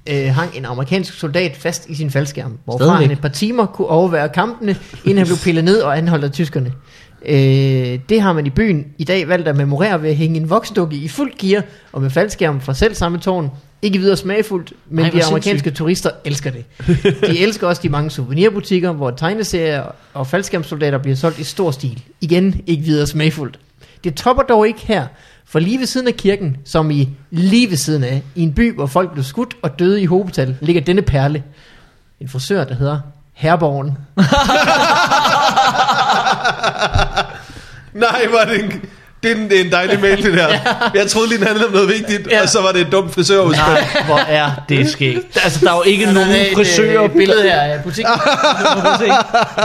øh, hang en amerikansk soldat fast i sin faldskærm, hvorfra
Stadigvæk.
han et par timer kunne overvære kampene, inden han blev pillet ned og anholdt af tyskerne. Øh, det har man i byen i dag valgt at memorere ved at hænge en voksdukke i fuld gear og med faldskærm fra selv samme tårn. Ikke videre smagfuldt, men
Ej,
Ej,
hvor
de amerikanske turister elsker det. De elsker også de mange souvenirbutikker, hvor tegneserier og faldskærmssoldater bliver solgt i stor stil. Igen, ikke videre smagfuldt. Det topper dog ikke her, for lige ved siden af kirken, som i lige ved siden af, i en by, hvor folk blev skudt og døde i hobetal, ligger denne perle. En frisør, der hedder Herborgen.
Nej, var det en, det er en, det er en dejlig mail, det der. Jeg troede lige, den handlede om noget vigtigt, ja. og så var det et dumt frisørudspil.
Nej, hvor er det sket. Altså, der er jo ikke nogen frisører.
billede her af butikken.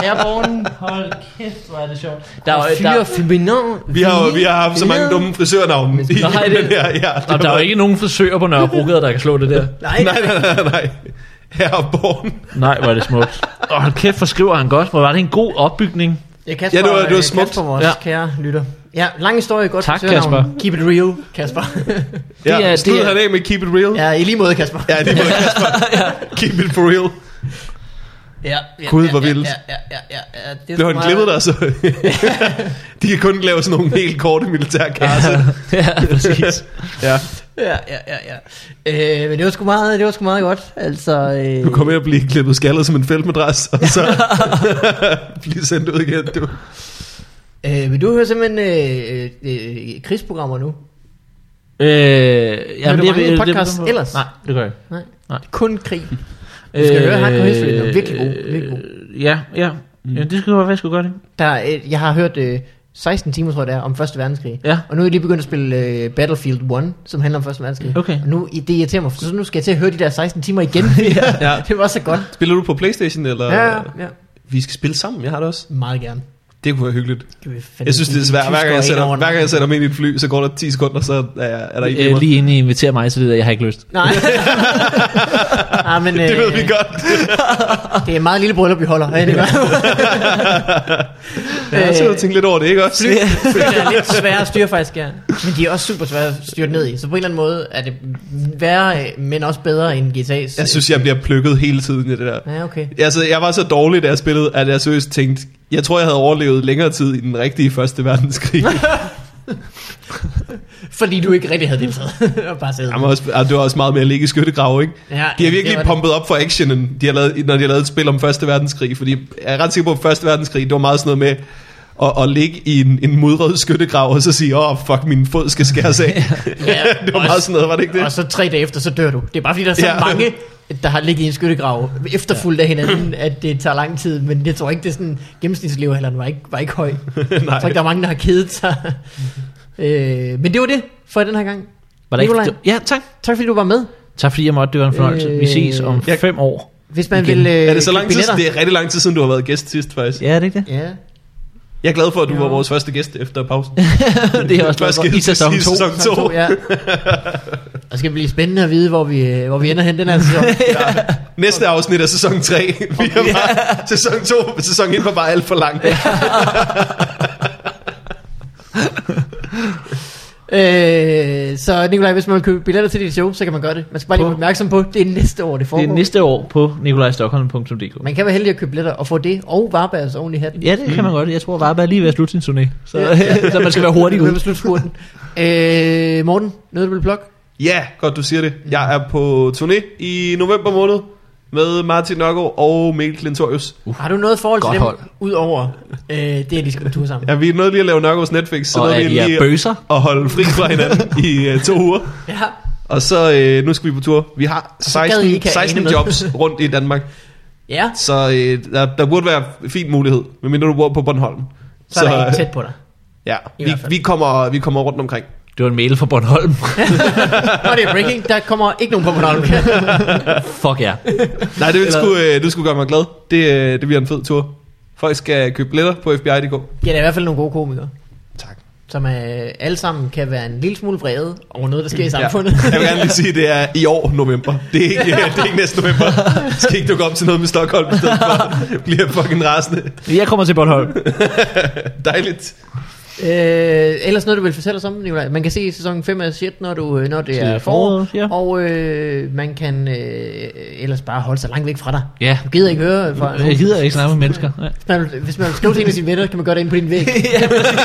Herborgen, hold kæft, hvor er det sjovt. Der
Der
er, jo-
er
der,
jo fyre
Vi har, jo- vi har haft så mange dumme frisørnavne. i
Nej, det-
den her. Ja, det
der, der er
var-
jo ikke nogen frisører på Nørrebrogade, der kan slå det der.
Nej, nej, nej, nej. Herreborn.
Nej, hvor er det smukt. Og hold kæft, hvor skriver han godt. Hvor var det en god opbygning.
Ja, Kasper,
Ja, det var- det var
øh,
smukt.
Kasper, vores
Ja.
ja. kære lytter. Ja, lang historie, godt
Tak,
forsøgnavn.
Kasper.
Keep it real, Kasper.
Ja,
Det er-
det er,
det
slut
er-
han af med Keep It Real. Ja,
ja, i lige måde, Kasper.
ja det var Keep It For Real.
ja, ja
Gud, hvor vildt.
Ja, ja, ja, ja, ja, det
Blev
er sgu
han
meget-
glippet der, så... De kan kun lave sådan nogle helt korte
Altså.
militærkasse.
ja, præcis.
Ja,
Ja, ja, ja, ja. Øh, men det var sgu meget, det var sgu meget godt. Altså, øh,
du kommer med at blive klippet skaldet som en feltmadras, og så blive sendt ud igen. Du.
øh, men du hører simpelthen øh, øh, øh, krigsprogrammer nu.
Øh, ja,
du mange podcasts ellers?
Nej, det gør jeg ikke.
Nej.
Nej.
Kun krig. Du skal høre Hardcore History, den er virkelig god,
øh,
virkelig god.
Ja, ja. Mm. ja det skulle være, hvad jeg skulle gøre det.
Der, er, øh, jeg har hørt øh, 16 timer, tror jeg det er, om Første Verdenskrig.
Ja.
Og nu er jeg lige begyndt at spille øh, Battlefield 1, som handler om Første Verdenskrig.
Okay.
Og nu, det irriterer mig, for så nu skal jeg til at høre de der 16 timer igen. ja.
Ja.
Det var så godt.
Spiller du på Playstation, eller...
Ja, ja, ja.
Vi skal spille sammen, jeg har det også.
Meget gerne.
Det kunne være hyggeligt.
Kan vi fandme
Jeg synes, det er
sige,
svært. Hver gang jeg
tyskere
sætter,
ind over
hver gang jeg
den.
sætter mig ind i et fly, så går der 10 sekunder, så er, er der ikke
Øh, lige inden I inviterer mig, så ved jeg, at jeg har ikke lyst.
Nej. Nej, men øh,
Det ved vi godt.
det er et meget lille bryllup, vi holder. Ja, det er
Jeg sidder og tænker lidt over det, ikke også?
det er lidt svære at styre faktisk, ja. Men de er også super svære at styre ned i. Så på en eller anden måde er det værre, øh, men også bedre end GTA's.
Jeg synes, jeg bliver plukket hele tiden i det der.
Ja, okay.
Altså, jeg var så dårlig, da jeg spillede, at jeg seriøst tænkte, jeg tror, jeg havde overlevet længere tid i den rigtige første verdenskrig.
Fordi du ikke rigtig havde deltaget. og bare siddet.
Jamen, også, ah, det var også meget mere at ligge i skyttegrave, ikke?
Ja,
De har
det var
virkelig
det.
pumpet op for actionen, de har lavet, når de har lavet et spil om første verdenskrig, fordi jeg er ret sikker på, at første verdenskrig, det var meget sådan noget med at, at ligge i en, en mudret skyttegrav, og så sige, åh, oh, fuck, min fod skal skæres af.
Ja,
det var meget sådan noget, var det ikke det?
Og så tre dage efter, så dør du. Det er bare fordi, der er så
Ja.
ja. mange, der har ligget i en skyttegrav efterfulgt af hinanden, at det tager lang tid. Men jeg tror ikke, det er sådan, gennemsnitslevealderen var ikke, var ikke høj. Jeg
Nej. Mhm.
tror ikke, der er mange, der har kedet sig. øh, men det var det for den her gang.
Var der
Nikolaj.
ikke? Ja, tak.
Tak fordi du var med.
Tak fordi jeg måtte, det var en fornøjelse. Øh, Vi ses om
jeg-
jeg, fem år.
Hvis man
Igen.
vil øh,
Er det så lang
købe
tid?
billetter-
Det er rigtig lang tid siden, du har været gæst sidst, faktisk.
Ja, er det ikke det?
Ja.
Jeg er glad for, at du
Ja.
var vores første gæst efter pausen.
det er jeg også glad
Første
for. I
gæst
sæson
i
2.
sæson
Sæson
to.
to, ja. Og det skal blive spændende at vide, hvor vi, øh, hvor vi ender hen den her sæson.
Næste afsnit er sæson 3. Vi er bare, sæson 2, sæson 1 var bare alt for lang.
øh, så Nikolaj, hvis man vil købe billetter til dit show, så kan man gøre det. Man skal bare lige
På-
være opmærksom på, det er næste år, det
Det
foregår.
er næste år på nikolajstockholm.dk.
Man kan være heldig at købe billetter og få det og Varbergs oven i hatten.
Ja, det kan man godt. Jeg tror, Varberg er lige ved at slutte sin turné. Så, så man skal være hurtig
Hvem er
ud.
slutspurten? øh, Morten, noget du vil plukke?
Ja, godt du siger det. Jeg er på turné i november måned med Martin Nørgaard og Mikkel Klintorius.
Uh, Har du noget forhold til
Godt
dem,
hold.
udover øh, det, at de skal på tur sammen?
Ja, vi er nødt lige at lave Nørgaards Netflix, så
Og
nåede
at
vi
I er
lige
bøser.
at holde fri fra hinanden i uh, to uger.
Ja.
Og så øh, nu skal vi på tur. Vi har
gad I
16,
ikke have
16
ane med.
jobs rundt i Danmark,
Ja.
så øh, der, der burde være fin mulighed, medmindre du bor på Bornholm.
Så, så er der
Så-
ikke tæt på dig.
Ja,
I
vi,
hvert fald.
vi, kommer, vi kommer rundt omkring.
Det var en mail fra Bornholm.
Nå, det er breaking. Der kommer ikke nogen på Bornholm.
Fuck ja.
Nej, det vil
Eller-
sgu, øh, det skulle gøre mig glad. Det, øh, det bliver en fed tur. Folk skal købe billetter på FBI.dk.
Ja, der er i hvert fald nogle gode komikere,
Tak.
som øh, alle sammen kan være en lille smule vrede over noget, der sker i
Ja.
samfundet.
Jeg vil gerne lige sige, at det er i år november. Det er ikke, det er ikke næste november. Skal ikke dukke op til noget med Stockholm i stedet for. Bliver fucking rasende.
Jeg kommer til Bornholm.
Dejligt.
Øh, ellers noget, du vil fortælle os om, Nicolaj. Man kan se sæson 5 af shit, når, du, øh, når det er forår.
foråret, ja.
Og øh, man kan øh, ellers bare holde sig langt væk fra dig.
Ja.
Du gider ikke høre fra
Jeg gider ikke snakke med mennesker. Nej.
Hvis man, vil- hvis man vil skrive til en af sine venner, kan man gøre det inde på din væg.
ja, præcis.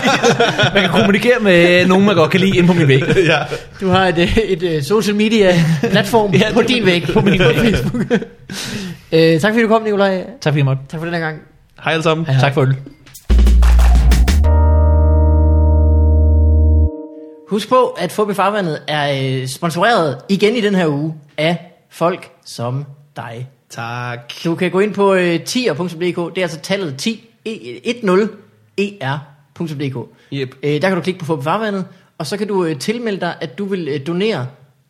man kan kommunikere med nogen, man godt kan lide, ind på min væg.
Ja.
Du har et, øh, et, et social media platform
Ja,
ja, på
det-
din væg. På min væg. Facebook. øh, tak fordi du kom, Nicolaj.
Tak fordi I måtte.
Tak for den her gang.
Hej alle sammen.
Tak for øl.
Husk på, at Fubi Farvandet er øh, sponsoreret igen i den her uge af folk som dig.
Tak.
Du kan gå ind på øh, 10er.dk, det er altså tallet 10, e- 10er.dk.
Yep.
Øh, der kan du klikke på Fubi Farvandet, og så kan du øh, tilmelde dig, at du vil øh, donere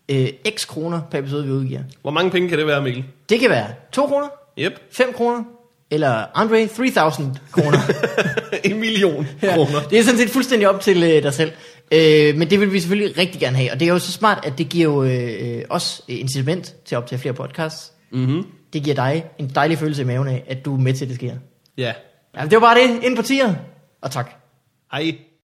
øh, x kroner per episode, vi udgiver.
Hvor mange penge kan det være, Mikkel?
Det kan være 2 kroner,
Yep.
5 kroner, eller Andre 3000 kroner.
en million
Ja,
kroner.
Det er sådan set fuldstændig op til øh, dig selv. Øh, men det vil vi selvfølgelig rigtig gerne have. Og det er jo så smart, at det giver jo øh, øh, os incitament til at optage flere podcasts.
Mhm.
Det giver dig en dejlig følelse i maven af, at du er med til, at det sker.
Ja.
Ja, det var bare det. Ind på tier. Og tak.
Hej.